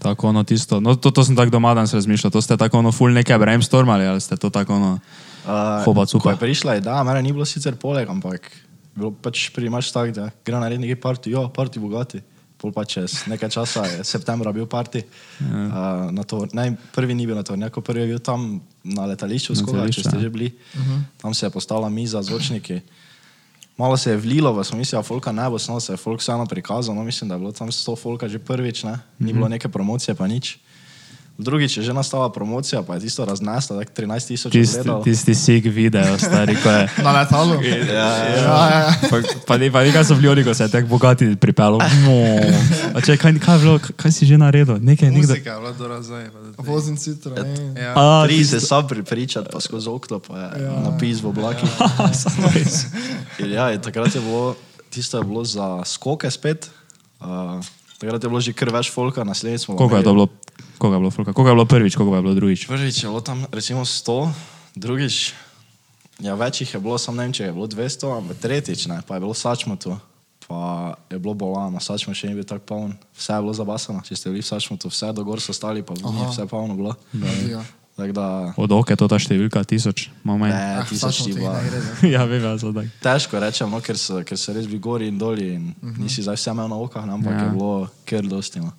Speaker 3: Tako ono tisto, no to, to sem tako doma danes razmišljal, to ste tako ono full nekaj brainstormali ali ste to tako ono...
Speaker 2: Uh,
Speaker 3: Hopa, cupa.
Speaker 2: Ko je prišla ideja, mene ni bilo sicer poleg, ampak bilo pač primaš tako, da gre na redni parti, jo, parti bogati. Pol pa čez nekaj časa je septembra bil parti.
Speaker 3: Ja.
Speaker 2: Uh, na to, ne, prvi ni bil na to, neko prvi je bil tam na letališču,
Speaker 3: Na
Speaker 2: skola, če
Speaker 3: letališču,
Speaker 2: ste
Speaker 3: ja.
Speaker 2: že bili. Uh -huh. Tam se je postala miza, zvočniki. Malo se je vlilo, pa sem mislil, da folka ne bo, samo se je folk vseeno prikazal. No, mislim, da je bilo tam 100 folka že prvič, ne? ni
Speaker 3: Mhm.
Speaker 2: bilo neke promocije, pa nič. Drugič je že nastala promocija, pa je tisto raznesla, tako 13 tisoč
Speaker 3: Tisti,
Speaker 2: ogledal.
Speaker 3: tisti sig video, stari, ko je.
Speaker 1: Na letalu? Ja,
Speaker 3: Pa, pa, ni- pa nekaj so bili oni, ko se je tako bogati pripeljal. No. Če, kaj, kaj, je bilo, K- kaj si že naredil? Nekaj, nekaj.
Speaker 4: Muzika je bila dobra zdaj. pa da te-
Speaker 1: Vozim citro. ne.
Speaker 4: Ja,
Speaker 3: A,
Speaker 2: Tri se sam pripričati, pa skozi okno, pa je ja. napis v oblakih. In ja, in takrat je bilo, tisto je bilo za skoke spet. Uh, takrat je bilo že kar več folka, naslednjič smo.
Speaker 3: koliko je to
Speaker 2: imeli-
Speaker 3: bilo? Koliko je bilo, folka? koliko je bilo prvič, koliko je bilo drugič?
Speaker 2: Prvič je bilo tam recimo 100, drugič, ja, večjih je bilo, sam ne vem, če je bilo 200, ampak tretjič ne, pa je bilo sačmotu. Pa je bilo bolano, sačmo še ni bil tako poln, vse je bilo zabasano, če ste bili v sačmotu, vse do gor so stali, pa vunje, vse je polno bilo. ja.
Speaker 1: Adijo.
Speaker 2: Tako da,
Speaker 3: Od oke to ta številka, tisoč, malo manj.
Speaker 2: ne,
Speaker 1: Ah,
Speaker 2: tisoč
Speaker 1: sačmo
Speaker 2: ti
Speaker 1: teh
Speaker 2: bila.
Speaker 1: ne gre, ne.
Speaker 3: ja, vem, jaz sem tak.
Speaker 2: Težko rečem, no, ker, so, ker so res bili gori in dol in uh -huh. nisi zdaj vse imel na okah, ne, ampak
Speaker 3: Ja.
Speaker 2: ja. je bilo kar dosti. No.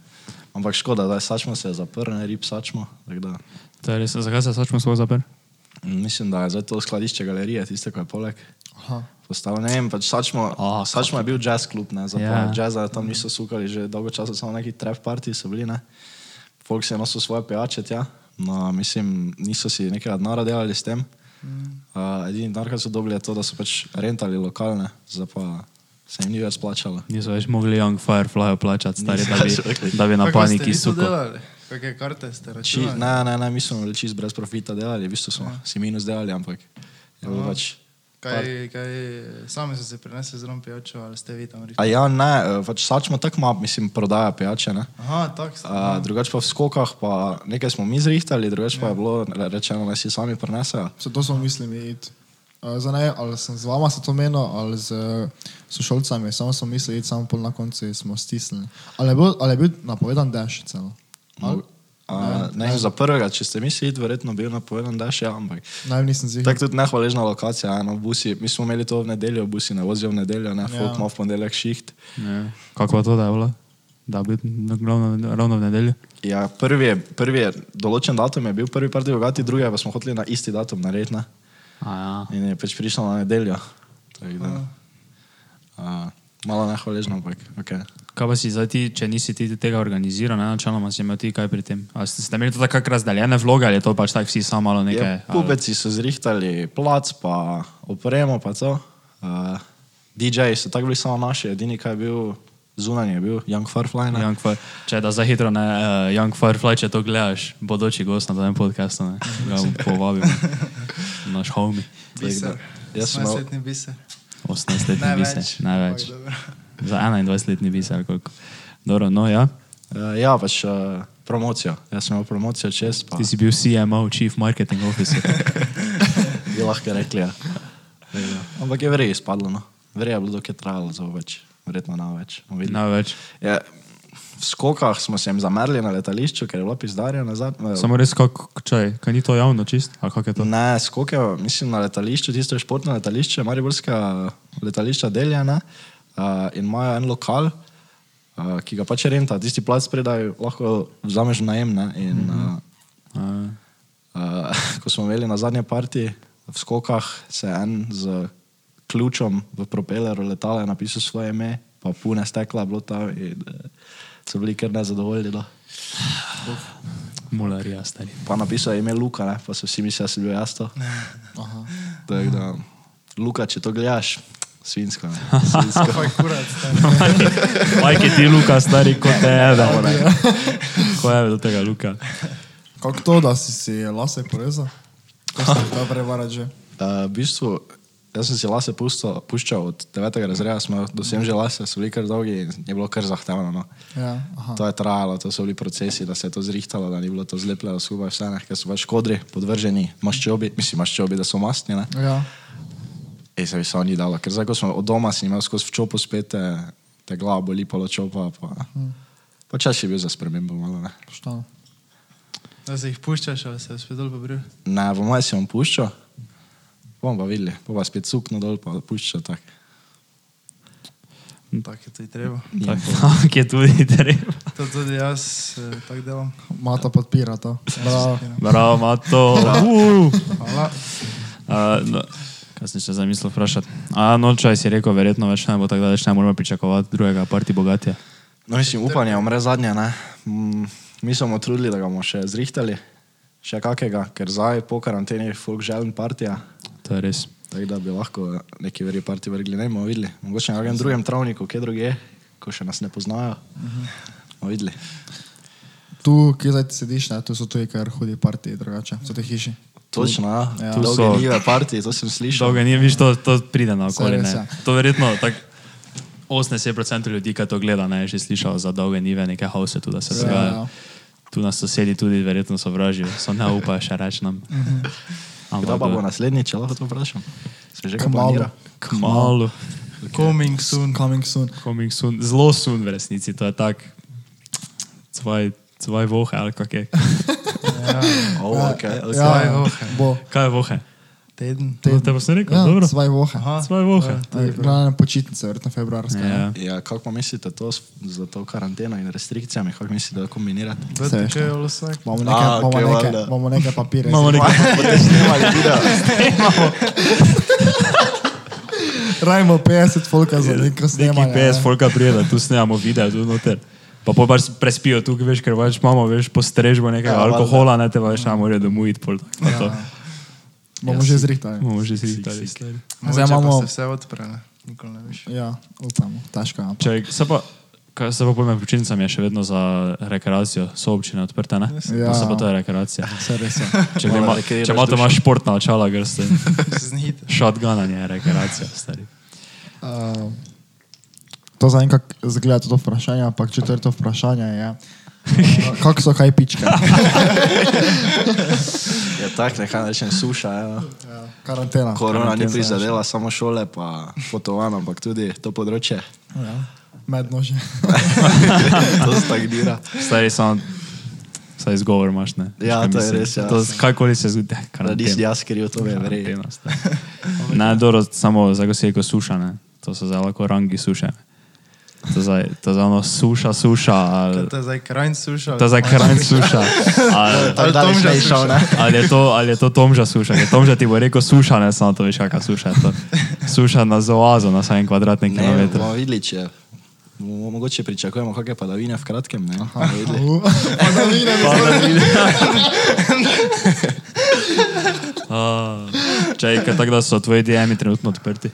Speaker 2: Ampak škoda, da sačmo se je zaprl, ne rib sačmo. tako Da,
Speaker 3: To je res, zakaj se sačmo svoj zaprl?
Speaker 2: mm, mislim, da je zdaj to skladišče galerije, tiste, ko je poleg.
Speaker 1: Aha.
Speaker 2: Postalo, ne vem, pač sačmo,
Speaker 3: A,
Speaker 2: oh, sačmo je bil jazz klub, ne, zato
Speaker 3: Ja.
Speaker 2: yeah. jazza tam niso sukali, že dolgo časa samo neki trap party so bili, ne. Folk se je nosil svoje pijače tja, no, mislim, niso si nekaj denara delali s tem. Mm. Uh, edini denar, kar so dobili, je to, da so pač rentali lokalne, zdaj pa se jim ni več splačalo.
Speaker 3: Niso več mogli Young Firefly plačati, stari, da
Speaker 2: Niso
Speaker 3: bi,
Speaker 2: več.
Speaker 3: da bi na
Speaker 4: Kako ste vi
Speaker 3: paniki
Speaker 4: to
Speaker 3: suko.
Speaker 4: delali? Kakšne karte ste
Speaker 2: Či,
Speaker 4: računali?
Speaker 2: ne, ne, ne, mi smo bili čist brez profita delali, v bistvu smo si minus delali, ampak je bilo pač.
Speaker 4: Kaj, kaj, sami ste se prinesli z rom pijačo ali ste vi tam rekli?
Speaker 2: A ja, ne, eh, pač sačmo tako ima, mislim, prodaja pijače, ne.
Speaker 4: Aha, tako ste.
Speaker 2: A, drugač pa v skokah, pa nekaj smo mi zrihtali, drugač pa je bilo re- rečeno, da si sami prenesejo.
Speaker 1: Se to smo mislili iti. Eh, Zdaj ne, ali sem z vama se to menil, ali z eh, sošolcami, samo smo mislili iti, samo pol na koncu smo stisnili. Ali je bil, ali je bil napovedan dež celo? Ali?
Speaker 2: A, Eh, Ne, vem, za prvega, če ste mislili, verjetno bil napovedan, da še, ampak
Speaker 1: Ne, vem, nisem zihar.
Speaker 2: tako tudi nehvaležna lokacija. eno, busi, mi smo imeli to v nedeljo, busi ne vozijo v nedeljo, ne, folk ima v ponedeljek šiht.
Speaker 3: Ja. Kako pa to, da je bilo? da bi ravno, ravno v nedeljo.
Speaker 2: Ja, prvi, je- prvi je, določen datum je bil prvi parti bogati, drugi pa smo hoteli na isti datum narediti. Ne?
Speaker 3: A ja.
Speaker 2: In je pač prišla na nedeljo. Tako da, a, Eh, malo nehvaležno, ampak okay.
Speaker 3: Kaj pa si zdaj ti, če nisi ti tega organiziral, ne, načeloma si imel ti kaj pri tem? Ali ste, ste imeli to tako razdeljene vloge ali je to pač tako vsi samo malo
Speaker 2: Je,
Speaker 3: nekaj? ali-
Speaker 2: pubeci so zrihtali plac, pa opremo, pa to. Uh, DJ-ji so tako bili samo naši, edini, kaj je bil zunanji, je bil Young Firefly. ne.
Speaker 3: Young Fir- Če da za hitro ne, uh, Young Firefly, če to gledaš, bodoči gost na tem podkastu, ne, ga bom povabil. Naš homie,
Speaker 4: Biser.
Speaker 2: Jaz sem imel-
Speaker 4: Svetni biser.
Speaker 3: 18-letni
Speaker 4: Ne
Speaker 3: biser,
Speaker 4: več.
Speaker 3: največ.
Speaker 4: Ampak dobro.
Speaker 3: Za 21-letni biser, koliko. Dobro, no ja,
Speaker 2: Uh, ja, pač uh, promocijo. Jaz sem imel promocijo čez, pa
Speaker 3: ti si bil CMO, Chief Marketing Officer.
Speaker 2: bi lahko rekli. Ja. Tako da. Ampak je verjetno izpadlo. No. Verjetno je bilo dokaj trajalo za več, verjetno na več. bomo videli.
Speaker 3: največ.
Speaker 2: Ja, v skokah smo se jim zamerili na letališču, ker je bilo pizdarja nazaj. eh,
Speaker 3: Samo res, kako čaj, kaj ni to javno čist, ali kako je to?
Speaker 2: Ne, skoke, mislim na letališču, tisto je športno letališče, mariborska letališča deljena uh, in imajo en lokal, uh, ki ga pač renta, tisti plac predaj lahko vzameš v najem. Ne, in, uh,
Speaker 3: Uh,
Speaker 2: Uh, ko smo imeli na zadnji parti v skokah, se je en z ključem v propeleru letala je napisal svoje ime, pa pune stekla je bilo tam in uh, so bili kar nezadovoljni. No.
Speaker 3: Mularija, stari.
Speaker 2: Pa napisal je ime Luka, ne? pa so vsi mislili, da sem bil jaz to. Tako da, Luka, če to gledaš, svinsko. ne. Svinsko.
Speaker 4: Fak kurat, stari.
Speaker 3: Majke ti, Luka, stari kot te ede. Ko je do tega, Luka?
Speaker 1: Kako to, da si si lase porezal? Kako si to prevarati že?
Speaker 2: Uh, v bistvu, jaz sem si lase pusto, puščal od 9. razreda, smo do sem že lase, so bili kar dolgi in je bilo kar zahtevno. No.
Speaker 1: Ja, aha.
Speaker 2: To je trajalo, to so bili procesi, da se je to zrihtalo, da ni bilo to zlepljeno skupaj, vse ne, ker so pač kodri, podvrženi maščobi, mislim maščobi, da so mastni. Ne?
Speaker 1: Ja.
Speaker 2: Ej, se mi samo ni dalo, ker zdaj, ko smo od doma, sem imel skozi v čopu spet, eh, te glava boli polo čopa, pa, pa čas je bil za spremembo malo. Ne,
Speaker 1: Poštano.
Speaker 4: Da se jih puščaš, ali se spet dol pobril.
Speaker 2: ne v maju sem puščal, bom pa videl, pa pa spet sukno dol, pa puščal tak.
Speaker 4: Tako je to i treba.
Speaker 2: Ja.
Speaker 3: Tako je tudi treba.
Speaker 4: To tudi jaz eh, tako delam.
Speaker 1: Mata podpira to. Bravo.
Speaker 3: Bravo, Mato. Uh.
Speaker 4: Hvala.
Speaker 3: Uh, no. Kaj sem še zamislil vprašati? A, no, čaj si rekel, verjetno več ne bo tako, da več ne moramo pričakovati drugega parti bogatja.
Speaker 2: No, mislim, upanje umre zadnje. Ne? Mm, Mi smo trudili, da ga bomo še zrihtali, še kakega, ker zdaj po karanteni je folk želen partija.
Speaker 3: To je res.
Speaker 2: Tako da bi lahko neki veri parti vrgli, ne bomo videli. Mogoče na nekem drugem travniku, kje drugje, ko še nas ne poznajo. Bomo videli.
Speaker 1: Tu, kje zdaj ti sediš, ne? tu so tudi kar hudi partiji drugače, so te hiši.
Speaker 2: Točno, ja.
Speaker 1: Ja.
Speaker 2: ja.
Speaker 3: Tu
Speaker 2: Dolge
Speaker 3: so-
Speaker 2: nive parti, to sem slišal.
Speaker 3: Dolga ni, viš, no. to, to pride na
Speaker 1: Saj
Speaker 3: okolje.
Speaker 1: res,
Speaker 3: ne.
Speaker 1: ja.
Speaker 3: To verjetno tako 80% ljudi, ki to gleda, ne, je že slišal za dolge nive, neke hause tu, da se
Speaker 1: Ja,
Speaker 3: dogaja.
Speaker 1: ja.
Speaker 3: Tu nas sosedi tudi verjetno sovražijo, so ne upajo še reči nam.
Speaker 2: Kdo pa bo
Speaker 3: eh,
Speaker 2: naslednji, če lahko to vprašam? Se že kaj
Speaker 1: Kmalu.
Speaker 2: planira?
Speaker 3: Kmalu.
Speaker 4: Coming soon.
Speaker 1: Coming soon.
Speaker 3: Coming soon, zelo sun v resnici, to je tako. Cvaj, cvaj vohe ali kak je.
Speaker 2: Oh, okay,
Speaker 1: Ja,
Speaker 2: okay.
Speaker 4: Svoje
Speaker 1: ja.
Speaker 4: vohe.
Speaker 1: Bo.
Speaker 3: Kaj je vohe?
Speaker 4: Teden.
Speaker 3: Te, te boš rekel,
Speaker 1: Ja,
Speaker 3: dobro.
Speaker 1: Svoje vohe.
Speaker 4: Aha.
Speaker 3: Cvaj vohe.
Speaker 1: Aj, Glavne počitnice, verjetno februarske. ne?
Speaker 3: Ja.
Speaker 2: Ja, kako pa mislite to s- za to karanteno in restrikcijami, kako mislite, da kombinirate?
Speaker 1: Se veš,
Speaker 4: Vete, kaj je bilo vsak.
Speaker 1: Bomo neke,
Speaker 2: A,
Speaker 1: bomo
Speaker 2: okej,
Speaker 1: neke,
Speaker 2: valjda.
Speaker 1: bomo neke papirje.
Speaker 3: Imamo nekaj.
Speaker 2: Boste snemali video?
Speaker 1: Rajmo 50 folka za neko
Speaker 3: Ja, Neki
Speaker 1: snemanje.
Speaker 3: PS
Speaker 2: ja.
Speaker 1: ne.
Speaker 3: Folka prijeda, tu snemamo video, tu noter. Pa pa pač prespijo tukaj, veš, ker pač imamo, veš, postrežbo
Speaker 2: Ja,
Speaker 3: nekega ja,
Speaker 2: valjda.
Speaker 3: alkohola, ne te pa več ne morejo domov iti pol. tako, pa
Speaker 2: Ja,
Speaker 3: to.
Speaker 1: Ja. Bomo že zrihtali.
Speaker 3: Bomo že si izdali.
Speaker 1: Zdaj
Speaker 4: Zdaj
Speaker 1: imamo-
Speaker 4: imamo... Se vse odpre, ne? Nikoli ne veš.
Speaker 1: Ja, upamo. Težko je. ampak-
Speaker 3: Če se pa, kaj se pa pojme, počitnicam je še vedno za rekreacijo, so občine odprte, ne?
Speaker 1: Ja.
Speaker 3: Ja. Se pa to je rekreacija.
Speaker 1: Vse res je.
Speaker 3: Če, ga ima,
Speaker 2: Malo rekreiraš
Speaker 3: če ima to
Speaker 2: dušo.
Speaker 3: imaš športna očala, grste.
Speaker 4: Se znihite.
Speaker 3: Shotgunanje je rekreacija, stari.
Speaker 1: Uh, to za enkrat zgleda to vprašanje, ampak četrto vprašanje je, uh, kako so kaj pičke?
Speaker 2: Ja, tako nekaj rečem, suša. Ja.
Speaker 1: Karantena.
Speaker 2: Korona ni
Speaker 1: Karantena.
Speaker 2: prizadela samo šole, pa potovanja, ampak tudi to področje.
Speaker 1: Ja. Mednože.
Speaker 2: to stagnira.
Speaker 3: Stari samo, saj izgovor imaš, ne?
Speaker 2: Ja,
Speaker 3: Kaj
Speaker 2: to je
Speaker 3: mislim?
Speaker 2: res, ja.
Speaker 3: To, kakoli se zgodi, eh,
Speaker 2: Da nisi
Speaker 3: karantena.
Speaker 2: jaz kriv, to je verjetno.
Speaker 3: Karantena, stari. Ne, dobro, samo za goseko suša, ne? To so zelo lahko rangi suše. To je zdaj, to je zdaj ono suša, suša. Ali,
Speaker 4: Kaj To je zdaj krajn suša.
Speaker 3: to je zdaj kraj suša. Ali,
Speaker 4: Ali
Speaker 2: daleč
Speaker 4: Tomža
Speaker 2: ne išel,
Speaker 4: suša.
Speaker 2: ne?
Speaker 3: ali, je to, ali je to Tomža suša? Ker Tomža ti bo rekel suša, ne samo to veš, kakšna suša je to. Suša na zoazo, na vsakem kvadratnem
Speaker 2: Ne,
Speaker 3: kilometru.
Speaker 2: bomo videli, če bomo mogoče pričakujemo kakšne padavine v kratkem. Ne? Bomo videli.
Speaker 1: Padavine,
Speaker 3: Ah, Če je tako, da so tvoji DM-ji trenutno odprti.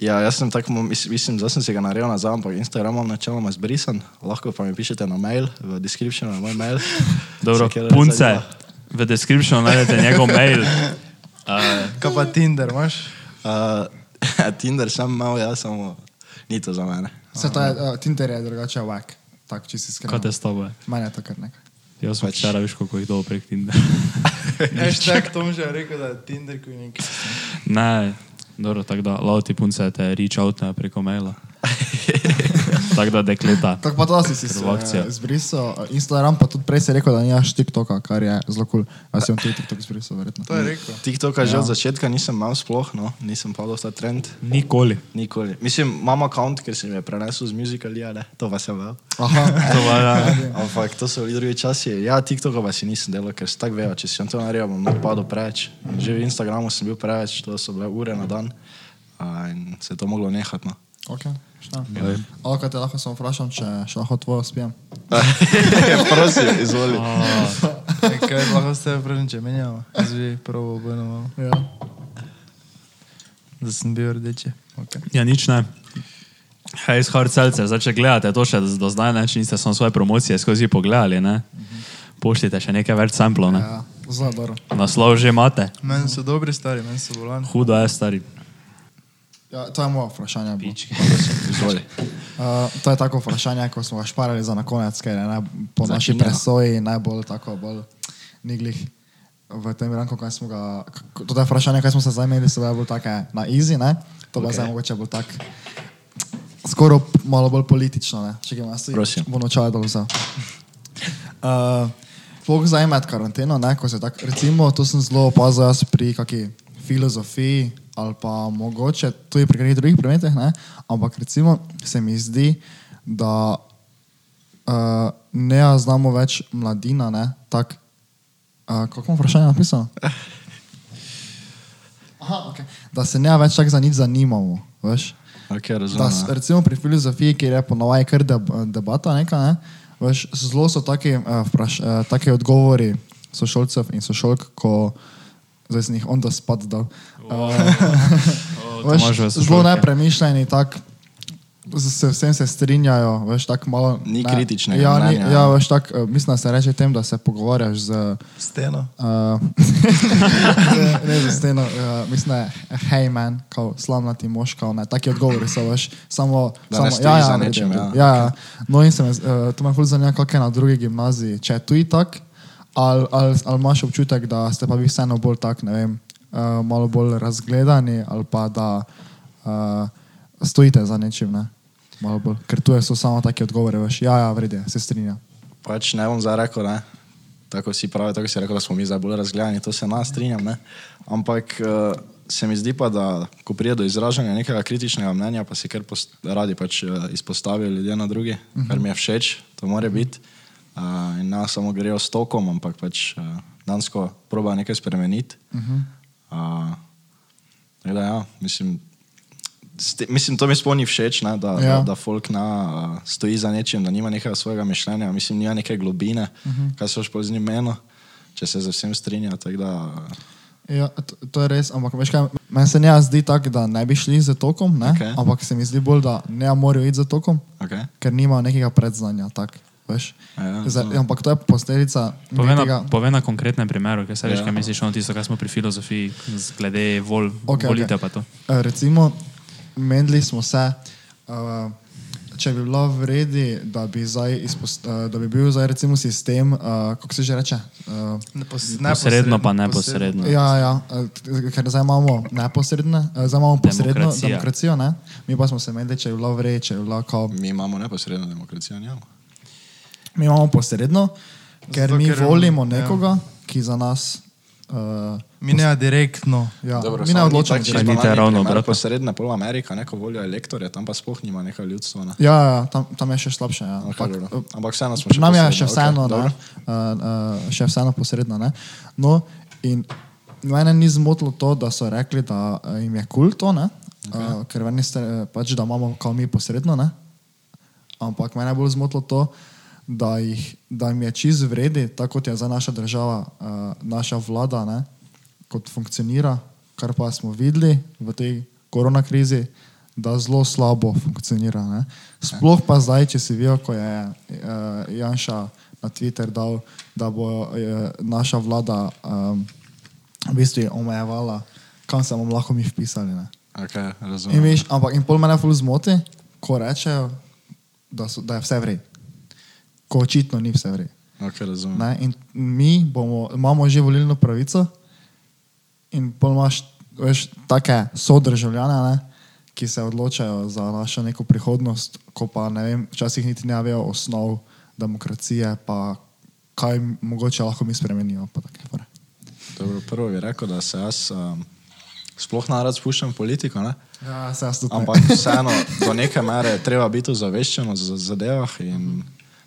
Speaker 2: Ja, jaz sem tako, mis- mislim, zdaj sem si ga naredil nazaj, ampak Instagram imam načeloma zbrisan, lahko pa mi pišete na mail, v descriptionu je moj mail.
Speaker 3: Dobro,
Speaker 2: Vse, kjer
Speaker 3: punce,
Speaker 2: zadeva.
Speaker 3: v descriptionu najdete njegov mail. Uh,
Speaker 4: Kaj pa Tinder, imaš?
Speaker 2: Uh, Tinder sem imel, jaz samo ni to za mene.
Speaker 1: Se to je, uh, Tinder je drugače wack. Tako, če si
Speaker 3: kaj te
Speaker 1: skrbel.
Speaker 3: s tabo je?
Speaker 1: Manje je to kar nekaj.
Speaker 3: Jaz sem
Speaker 2: Pač-
Speaker 3: včeraj viš, koliko jih dol prek Tinder.
Speaker 4: Hashtag Tomža je rekel, da je Tinder kunik.
Speaker 3: ne, dobro, tako da, lauti punce te reach out ne, preko maila. tako da, dekleta.
Speaker 1: Tako pa to si si se
Speaker 3: Prva akcija.
Speaker 1: eh, zbrisal. eh, Instagram pa tudi prej si rekel, da nimaš TikToka, kar je zelo kul. Cool. Jaz sem tudi TikTok zbrisal, verjetno.
Speaker 4: To je rekel.
Speaker 2: TikToka
Speaker 3: Ja.
Speaker 2: že od začetka nisem imel sploh, no, nisem padel v ta trend.
Speaker 3: Nikoli.
Speaker 2: Nikoli. Mislim, imam račun, ker sem je prenesel z muzikali, ali to pa sem vel.
Speaker 1: Aha.
Speaker 3: To pa, ja.
Speaker 2: Ampak to so bili drugi časi. Ja, TikToka pa si nisem delal, ker si tako vejo, če si to naredil, bom lahko padel preveč. In Že v Instagramu sem bil preveč, to so bile ure na dan a, in se je to moglo nehati. No.
Speaker 1: Ok, šta? Alko, te lahko samo vprašam, če še lahko tvojo spijem.
Speaker 2: Prosim, izvoli.
Speaker 4: E, Kaj lahko ste prvem, če menjamo? Zvi, prvo obrno malo.
Speaker 1: Ja.
Speaker 4: Da sem bil rdeče.
Speaker 1: Okay.
Speaker 3: ja, nič ne. Hej, iz Harcelce, zdaj če gledate to še do zdaj, ne, če niste samo svoje promocije skozi pogledali, ne, pošljite še nekaj več samplov, ne.
Speaker 1: Ja, zelo dobro.
Speaker 3: Naslov že imate.
Speaker 4: Meni so dobri stari, meni so bolani.
Speaker 3: Hudo je, stari.
Speaker 1: Ja, to je moje vprašanje. bilo.
Speaker 2: izvoli.
Speaker 1: Uh, to je tako vprašanje, ko smo ga šparali za na konec, ker je naj, po
Speaker 2: Za
Speaker 1: naši
Speaker 2: Kinga.
Speaker 1: presoji najbolj tako bolj niglih v tem ranku, kaj smo ga, k- to je vprašanje, kaj smo se zajemili, so bile bolj take na easy, ne? To okay. bo
Speaker 2: Ok.
Speaker 1: zdaj mogoče bolj tak, skoro p- malo bolj politično, ne? Če ga nas
Speaker 2: Prosim.
Speaker 1: bo nočala dol vzel. Uh, Sploh zajemati karanteno, ne, ko se tako, recimo, to sem zelo opazil jaz pri kaki filozofiji ali pa mogoče tudi pri kakih drugih predmetih, ne, ampak recimo se mi zdi, da uh, ne znamo več mladina, ne, tak, uh, kako je vprašanje napisano? Aha, okay. Da se ne več tako za nič zanimamo, veš.
Speaker 2: Okay,
Speaker 1: Da, s- recimo pri filozofiji, kjer je ponovaj kar deb, debata, neka, ne? Veš, zelo so taki, eh, vpraš, eh, taki odgovori sošolcev in sošolk, ko zdaj sem jih on da spad dal.
Speaker 3: O, Tomaž v
Speaker 1: Veš, zelo
Speaker 3: sošolke.
Speaker 1: nepremišljeni, tak, z se vsem se strinjajo, veš, tako malo...
Speaker 2: Ni
Speaker 1: ne-
Speaker 2: kritičnega
Speaker 1: Ja, ni,
Speaker 2: mnenja,
Speaker 1: ja,
Speaker 2: ne.
Speaker 1: veš, tak, eh, mislim, da se reče tem, da se pogovarjaš z...
Speaker 4: Steno.
Speaker 1: Uh, ne, ne za steno, uh, mislim, da je hej man, kao slamnati mož, kao ne, taki odgovori so veš, samo,
Speaker 2: Da
Speaker 1: samo
Speaker 2: ne stojiš za nečim,
Speaker 1: ja.
Speaker 2: ja.
Speaker 1: ja, ja. No in se me, uh, to me ful zanima, kako je na drugi gimnaziji, če je tu itak, ali al, al imaš občutek, da ste pa vi vseeno bolj tak, ne vem, uh, malo bolj razgledani ali pa da uh, stojite za nečim, ne, malo bolj, ker tu je so samo taki odgovori, veš, ja, ja, vredi, se strinjam.
Speaker 2: Pač ne bom zdaj rekel, ne. Tako si pravi, tako si rekel, da smo mi zdaj bolj razgledani, to se nas strinjam. Ne? Ampak uh, se mi zdi pa, da ko pride do izražanja nekega kritičnega mnenja, pa se kar post- radi pač, uh, izpostavijo ljudje na druge, uh -huh. kar mi je všeč, to more biti. Uh, in ne samo grejo s tokom, ampak pač uh, dansko proba nekaj spremeniti. Uh -huh. uh, Tako Da, ja, mislim, s te- mislim, to mi sploh ni všeč, ne, da,
Speaker 1: Ja.
Speaker 2: ja. da, da folk na, uh, stoji za nečim, da nima nekega svojega mišljenja, mislim, nima neke globine, uh
Speaker 1: Mhm.
Speaker 2: -huh. kaj se boš pozni meno, če se z vsem strinja. tako Da,
Speaker 1: Ja, to, to je res, ampak veš kaj, meni se ne zdi tako, da ne bi šli za tokom, ne?
Speaker 2: Okej.
Speaker 1: ampak se mi zdi bolj, da ne morajo iti za tokom,
Speaker 2: uh, okay.
Speaker 1: ker nimajo nekega predznanja. Tak, veš.
Speaker 2: Ja,
Speaker 1: Zdaj,
Speaker 2: ja.
Speaker 1: ampak to je posledica
Speaker 3: Povej na,
Speaker 1: nekega...
Speaker 3: povej na konkretnem primeru, kaj se veš,
Speaker 2: Ja.
Speaker 3: kaj misliš o tisto, kar smo pri filozofiji, z- glede vol,
Speaker 1: Okej,
Speaker 3: okay, volitev
Speaker 1: okej.
Speaker 3: okay. pa to.
Speaker 1: Eh, Recimo, menili smo se, uh, če bi bilo vredi, da bi, zdaj izpost, uh, da bi bil zdaj recimo sistem, uh, kako se že reče, uh,
Speaker 3: Posredno pa neposredno.
Speaker 2: No.
Speaker 1: Ja, ja, eh, t- ker zdaj imamo neposredne, eh, zdaj imamo posredno
Speaker 3: Demokracija.
Speaker 1: demokracijo, demokracijo ne? mi pa smo se menili, če je bilo vredi, če je bilo kao...
Speaker 2: Mi imamo neposredno demokracijo, njamo.
Speaker 1: Mi imamo posredno, ker
Speaker 4: Zato,
Speaker 1: mi
Speaker 4: ker-
Speaker 1: volimo
Speaker 4: ja.
Speaker 1: nekoga, ki za nas Uh,
Speaker 4: Mi ne direktno.
Speaker 1: ja,
Speaker 2: Dobro,
Speaker 1: mi ne
Speaker 2: samo
Speaker 1: odločamo.
Speaker 2: tako
Speaker 1: čisto.
Speaker 3: Saj
Speaker 2: čist
Speaker 3: niti
Speaker 2: banalni
Speaker 3: ravno
Speaker 2: primer,
Speaker 3: obratno.
Speaker 2: Posredna pol Amerika, neko voljo elektorja, tam pa sploh nima nekaj ljudstva. Ne?
Speaker 1: Ja, ja, ja, tam, tam je še slabše. Ja.
Speaker 2: Okay,
Speaker 1: Ampak,
Speaker 2: dobro.
Speaker 1: eh,
Speaker 2: Ampak vseeno smo
Speaker 1: Pri nam je še
Speaker 2: posredna,
Speaker 1: vseeno,
Speaker 2: okej,
Speaker 1: okay,
Speaker 2: dobro.
Speaker 1: uh, uh, še vseeno posredno. Ne? No, in mene ni zmotilo to, da so rekli, da eh, jim je kul to, ne? uh, ker ven niste, eh, pač, da imamo kao mi posredno. Ne? Ampak mene je bolj zmotilo to, da, jih, da jim je čist vredi, tako kot je za naša država, uh, naša vlada, ne? kot funkcionira, kar pa smo videli v tej korona krizi. Da zelo slabo funkcionira. Ne? Sploh pa zdaj, če si videl, ko je uh, Janša na Twitter dal, da bo eh, naša vlada um, v bistvu omejevala, kam se bomo lahko mi vpisali. Ne?
Speaker 2: Okej,
Speaker 1: In
Speaker 2: razumem.
Speaker 1: veš, ampak in pol mene ful zmoti, ko rečejo, da, so, da je vse vrej. Ko očitno ni vse vrej.
Speaker 2: Okej, razumem.
Speaker 1: Ne? In mi bomo, imamo že volilno pravico in pol imaš veš, take sodržavljane, ne? ki se odločajo za našo neko prihodnost, ko pa ne vem, včasih niti ne vejo osnov demokracije, pa kaj mogoče lahko mi spremenimo. pa take fore.
Speaker 2: Dobro, prvo bi rekel, da se jaz um, sploh ne rad spuščam v politiko, ne?
Speaker 1: Ja, se jaz tudi ne.
Speaker 2: ampak vseeno do neke mere je treba biti ozaveščen o za- zadevah in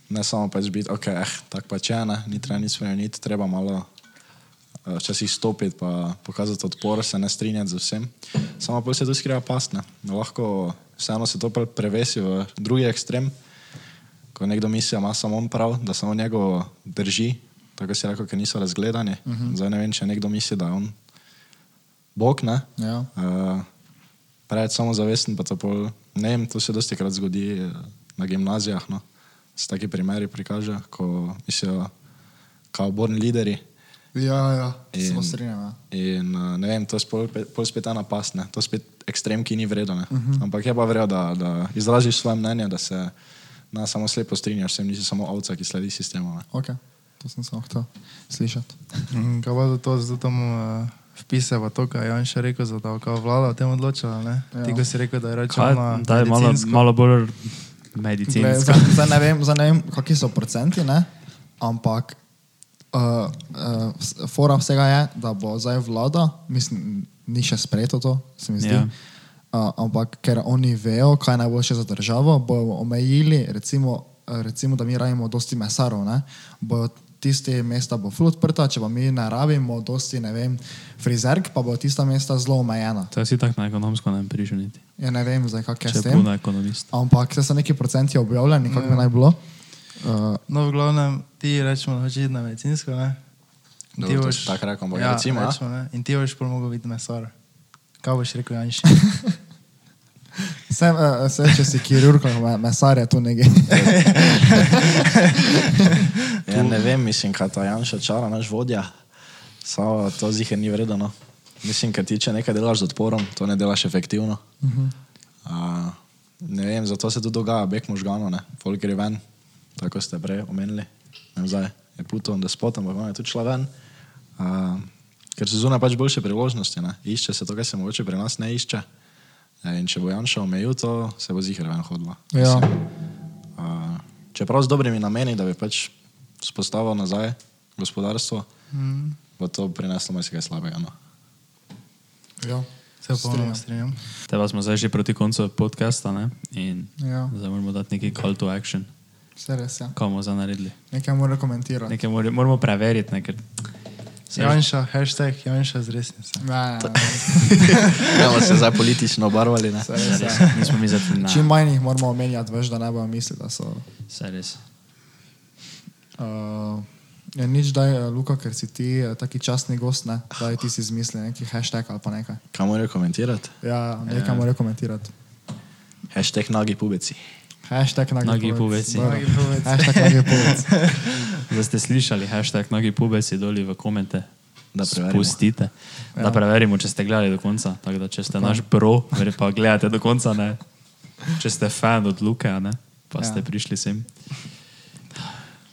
Speaker 2: ne samo pač biti, ok, eh, tak pa če ne, ni treba nič spremeniti, treba malo eh, včasih stopiti, pa pokazati odpor, se ne strinjati z vsem. Samo pa se tu skriva pasne. Lahko vseeno se to pre- prevesi v drugi ekstrem, ko nekdo misli, da ima samo on prav, da samo njegov drži, tako si rekel, ker niso razgledani. Uh -huh. Zdaj ne vem, če nekdo misli, da je on bog, ne?
Speaker 1: Ja.
Speaker 2: Uh, preveč samozavesten, pa to pol, ne vem, to se dosti krat zgodi eh, na gimnazijah. No. Se taki primeri prikažejo, ko mislijo, kao born lideri.
Speaker 1: Ja, ja,
Speaker 2: In-
Speaker 1: smo strinjali.
Speaker 2: In eh, ne vem, to je pol, pol spet ena past, ne. to je spet ekstrem, ki ni vredno. Uh -huh. Ampak je pa vredno, da, da izraziš svoje mnenje, da se na samo slepo strinjaš, sem nisi samo ovca, ki sledi sistemu. Ne.
Speaker 1: Okay. To sem samo hotel slišati.
Speaker 4: Mm, Kaj pa do to, zato tam uh, vpise, pa to, kaj je on še rekel, zato kao vlada o tem odločala. Ne?
Speaker 1: Ja.
Speaker 4: Ja. Ti, ko si rekel, da je
Speaker 3: Kaj,
Speaker 4: računala.
Speaker 3: daj, malo, malo bolj medicinsko.
Speaker 1: Zdaj zdaj ne vem, zdaj ne vem kakšni so procenti, ne? ampak uh, uh, s- fora vsega je, da bo zdaj vlada, mislim, ni še sprejeto to, se mi zdi.
Speaker 3: Ja.
Speaker 1: Yeah. Uh, ampak ker oni vejo, kaj je najboljše za državo, bojo omejili, recimo, eh, recimo da mi rabimo dosti mesarov, ne? bojo tiste mesta bo ful odprta, če pa mi ne rabimo dosti, ne vem, frizerk, pa bo tista mesta zelo omejena.
Speaker 3: To je si tako na ekonomsko ne prižuniti.
Speaker 1: Ja ne vem, zdaj kak je
Speaker 3: Če
Speaker 1: s
Speaker 3: je
Speaker 1: tem.
Speaker 3: puno ekonomist.
Speaker 1: Ampak zdaj so neki procenti objavljeni, kako bi naj bilo. Uh,
Speaker 4: No, v glavnem, ti rečemo, da hočeš iti na medicinsko. Ne? In
Speaker 2: Dobro, to si tako rekel, ampak
Speaker 4: ja,
Speaker 2: recimo, a?
Speaker 4: rečemo, ne? In ti boš pol mogel biti mesar. Kaj boš rekel, Janš?
Speaker 1: sem, uh, sem, če si kirurg, me- mesar je tu nekaj.
Speaker 2: Ja, ne vem, mislim, kaj ta Janša čara, naš vodja. Samo to zihe ni vredno. Mislim, ker ti če nekaj delaš z odporom, to ne delaš efektivno. Uh -huh. uh, ne vem, zato se tudi dogaja beg možganov, ne? folk gre ven, tako kot ste prej omenili. Ne vem, Zdaj je pluton, da spotom, ampak on je tudi šla ven. Uh, ker so zunaj pač boljše priložnosti, ne? išče se to, kar se mogoče pri nas ne išče. Ne, In če bo Janša omejil to, se bo zihe ven hodila.
Speaker 1: Ja.
Speaker 2: Uh, čeprav z dobrimi nameni, da bi pač spostavil nazaj gospodarstvo,
Speaker 4: Mm,
Speaker 2: bo to prineslo marsikaj slabega. No.
Speaker 1: Ja.
Speaker 4: se popolnoma strinjam.
Speaker 3: Teba smo zdaj že proti koncu podcasta ne? in
Speaker 1: Ja,
Speaker 3: zdaj moramo dati neki call to action,
Speaker 1: vse res je. Ja.
Speaker 3: kaj bomo zdaj naredili.
Speaker 1: Nekaj mora komentirati.
Speaker 3: Nekaj mora- moramo preveriti, ne, ker Saj-
Speaker 4: Janša, hashtag Janša z resnice.
Speaker 1: Ne, ne,
Speaker 2: Ja, bomo se zdaj politično obarvali. Ne?
Speaker 1: vse res je.
Speaker 3: res, nismo mi za to
Speaker 1: Čim
Speaker 3: na.
Speaker 1: manj jih moramo omenjati, veš, da ne bojo mislili, da so.
Speaker 3: Saj res.
Speaker 1: Uh, ja, nič daj, eh, Luka, ker si ti uh, taki častni gost, ne? daj ti si izmisli neki hashtag ali pa nekaj.
Speaker 2: Kaj morajo komentirati?
Speaker 1: Ja, nekaj ja. mora komentirati.
Speaker 2: Hashtag nagi pubeci.
Speaker 1: Hashtag nagi,
Speaker 3: Nagi
Speaker 1: povec.
Speaker 3: poveci.
Speaker 1: Dobro.
Speaker 4: Nagi povec.
Speaker 1: Hashtag nagi povec.
Speaker 3: Da ste slišali hashtag nogi pubeci doli v komente.
Speaker 2: Da preverimo.
Speaker 3: Pustite, ja.
Speaker 1: Ja.
Speaker 3: da preverimo, če ste gledali do konca. Tako da, če ste naš pro, ver- pa gledate do konca, ne. če ste fan od Luke, a ne, pa
Speaker 1: Ja.
Speaker 3: ja. ste prišli sem.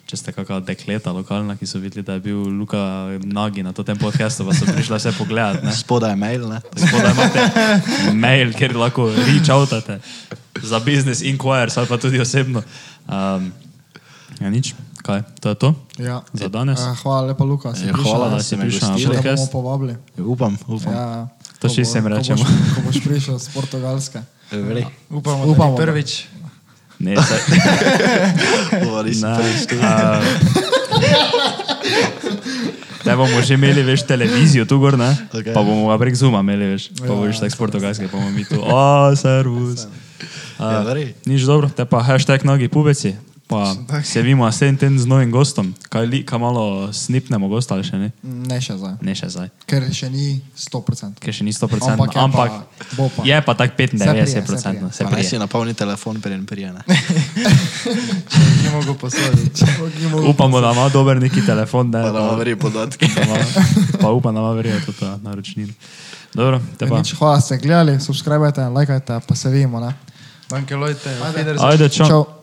Speaker 3: Če ste kakšna dekleta lokalna, ki so videli, da je bil Luka nagi na to tem podkastu, pa so prišli vse pogledat. ne.
Speaker 2: Spodaj je mail, ne?
Speaker 3: Spodaj imate mail, kjer lahko reachoutate za business inquiries ali pa tudi osebno. Um, Ehm, ja, nič, Kaj, to je to?
Speaker 1: Ja.
Speaker 3: Za danes?
Speaker 1: Eh, Hvala lepa, Luka. si
Speaker 2: Ja,
Speaker 1: prišel,
Speaker 2: hvala,
Speaker 1: ne?
Speaker 2: da si
Speaker 1: Če
Speaker 2: me
Speaker 1: te bomo
Speaker 2: gostili.
Speaker 1: povabili.
Speaker 2: Upam, upam. Ja.
Speaker 1: Ja,
Speaker 3: To
Speaker 1: ko
Speaker 3: še
Speaker 1: bo-
Speaker 3: vsem
Speaker 1: ko boš-
Speaker 3: rečemo.
Speaker 1: Ko boš prišel z Portugalske.
Speaker 2: E,
Speaker 4: Upamo,
Speaker 1: Upamo,
Speaker 4: Upamo
Speaker 1: da.
Speaker 4: prvič.
Speaker 3: Ne, saj, ne. a, Te bomo že imeli, veš, televizijo tu gor, ne?
Speaker 2: Okej.
Speaker 3: Pa bomo ga prek Zuma imeli, veš. Pa boš tako s portugalske, pa bomo mi tu. O, servus.
Speaker 2: Ja,
Speaker 3: A,
Speaker 2: verjetno.
Speaker 3: Nič dobro, te pa hashtag nogi pubeci. Pa se vidimo naslednji teden z novim gostom. Kaj li, kaj malo snipnemo gosta ali še ne?
Speaker 1: Ne še zdaj,
Speaker 3: Ne še zdaj,
Speaker 1: ker še ni 100%.
Speaker 3: ker še ni 100%.
Speaker 1: Ampak
Speaker 3: Ampak,
Speaker 1: je
Speaker 3: ampak
Speaker 1: pa- bo pa.
Speaker 3: je pa tak
Speaker 1: Se prije, se
Speaker 3: 95%. Se
Speaker 2: Pa naj si
Speaker 3: prije.
Speaker 2: napolni telefon, preden prijene.
Speaker 4: Ne mogo posoditi.
Speaker 3: Upamo, da ima dober neki telefon, ne,
Speaker 2: Pa da ima
Speaker 3: pa-
Speaker 2: verjetno podatke.
Speaker 3: da ima- pa upam, da ima verjetno tudi ta naročnina. Dobro, te pa.
Speaker 1: Ja, Nič, hvala, da ste gledali, subskrbite, lajkajte, pa se vidimo. Ne?
Speaker 4: Danke, Lojte.
Speaker 1: Ajde.
Speaker 4: Auf Wiedersehen.
Speaker 3: Ajde, čau.
Speaker 1: Čau.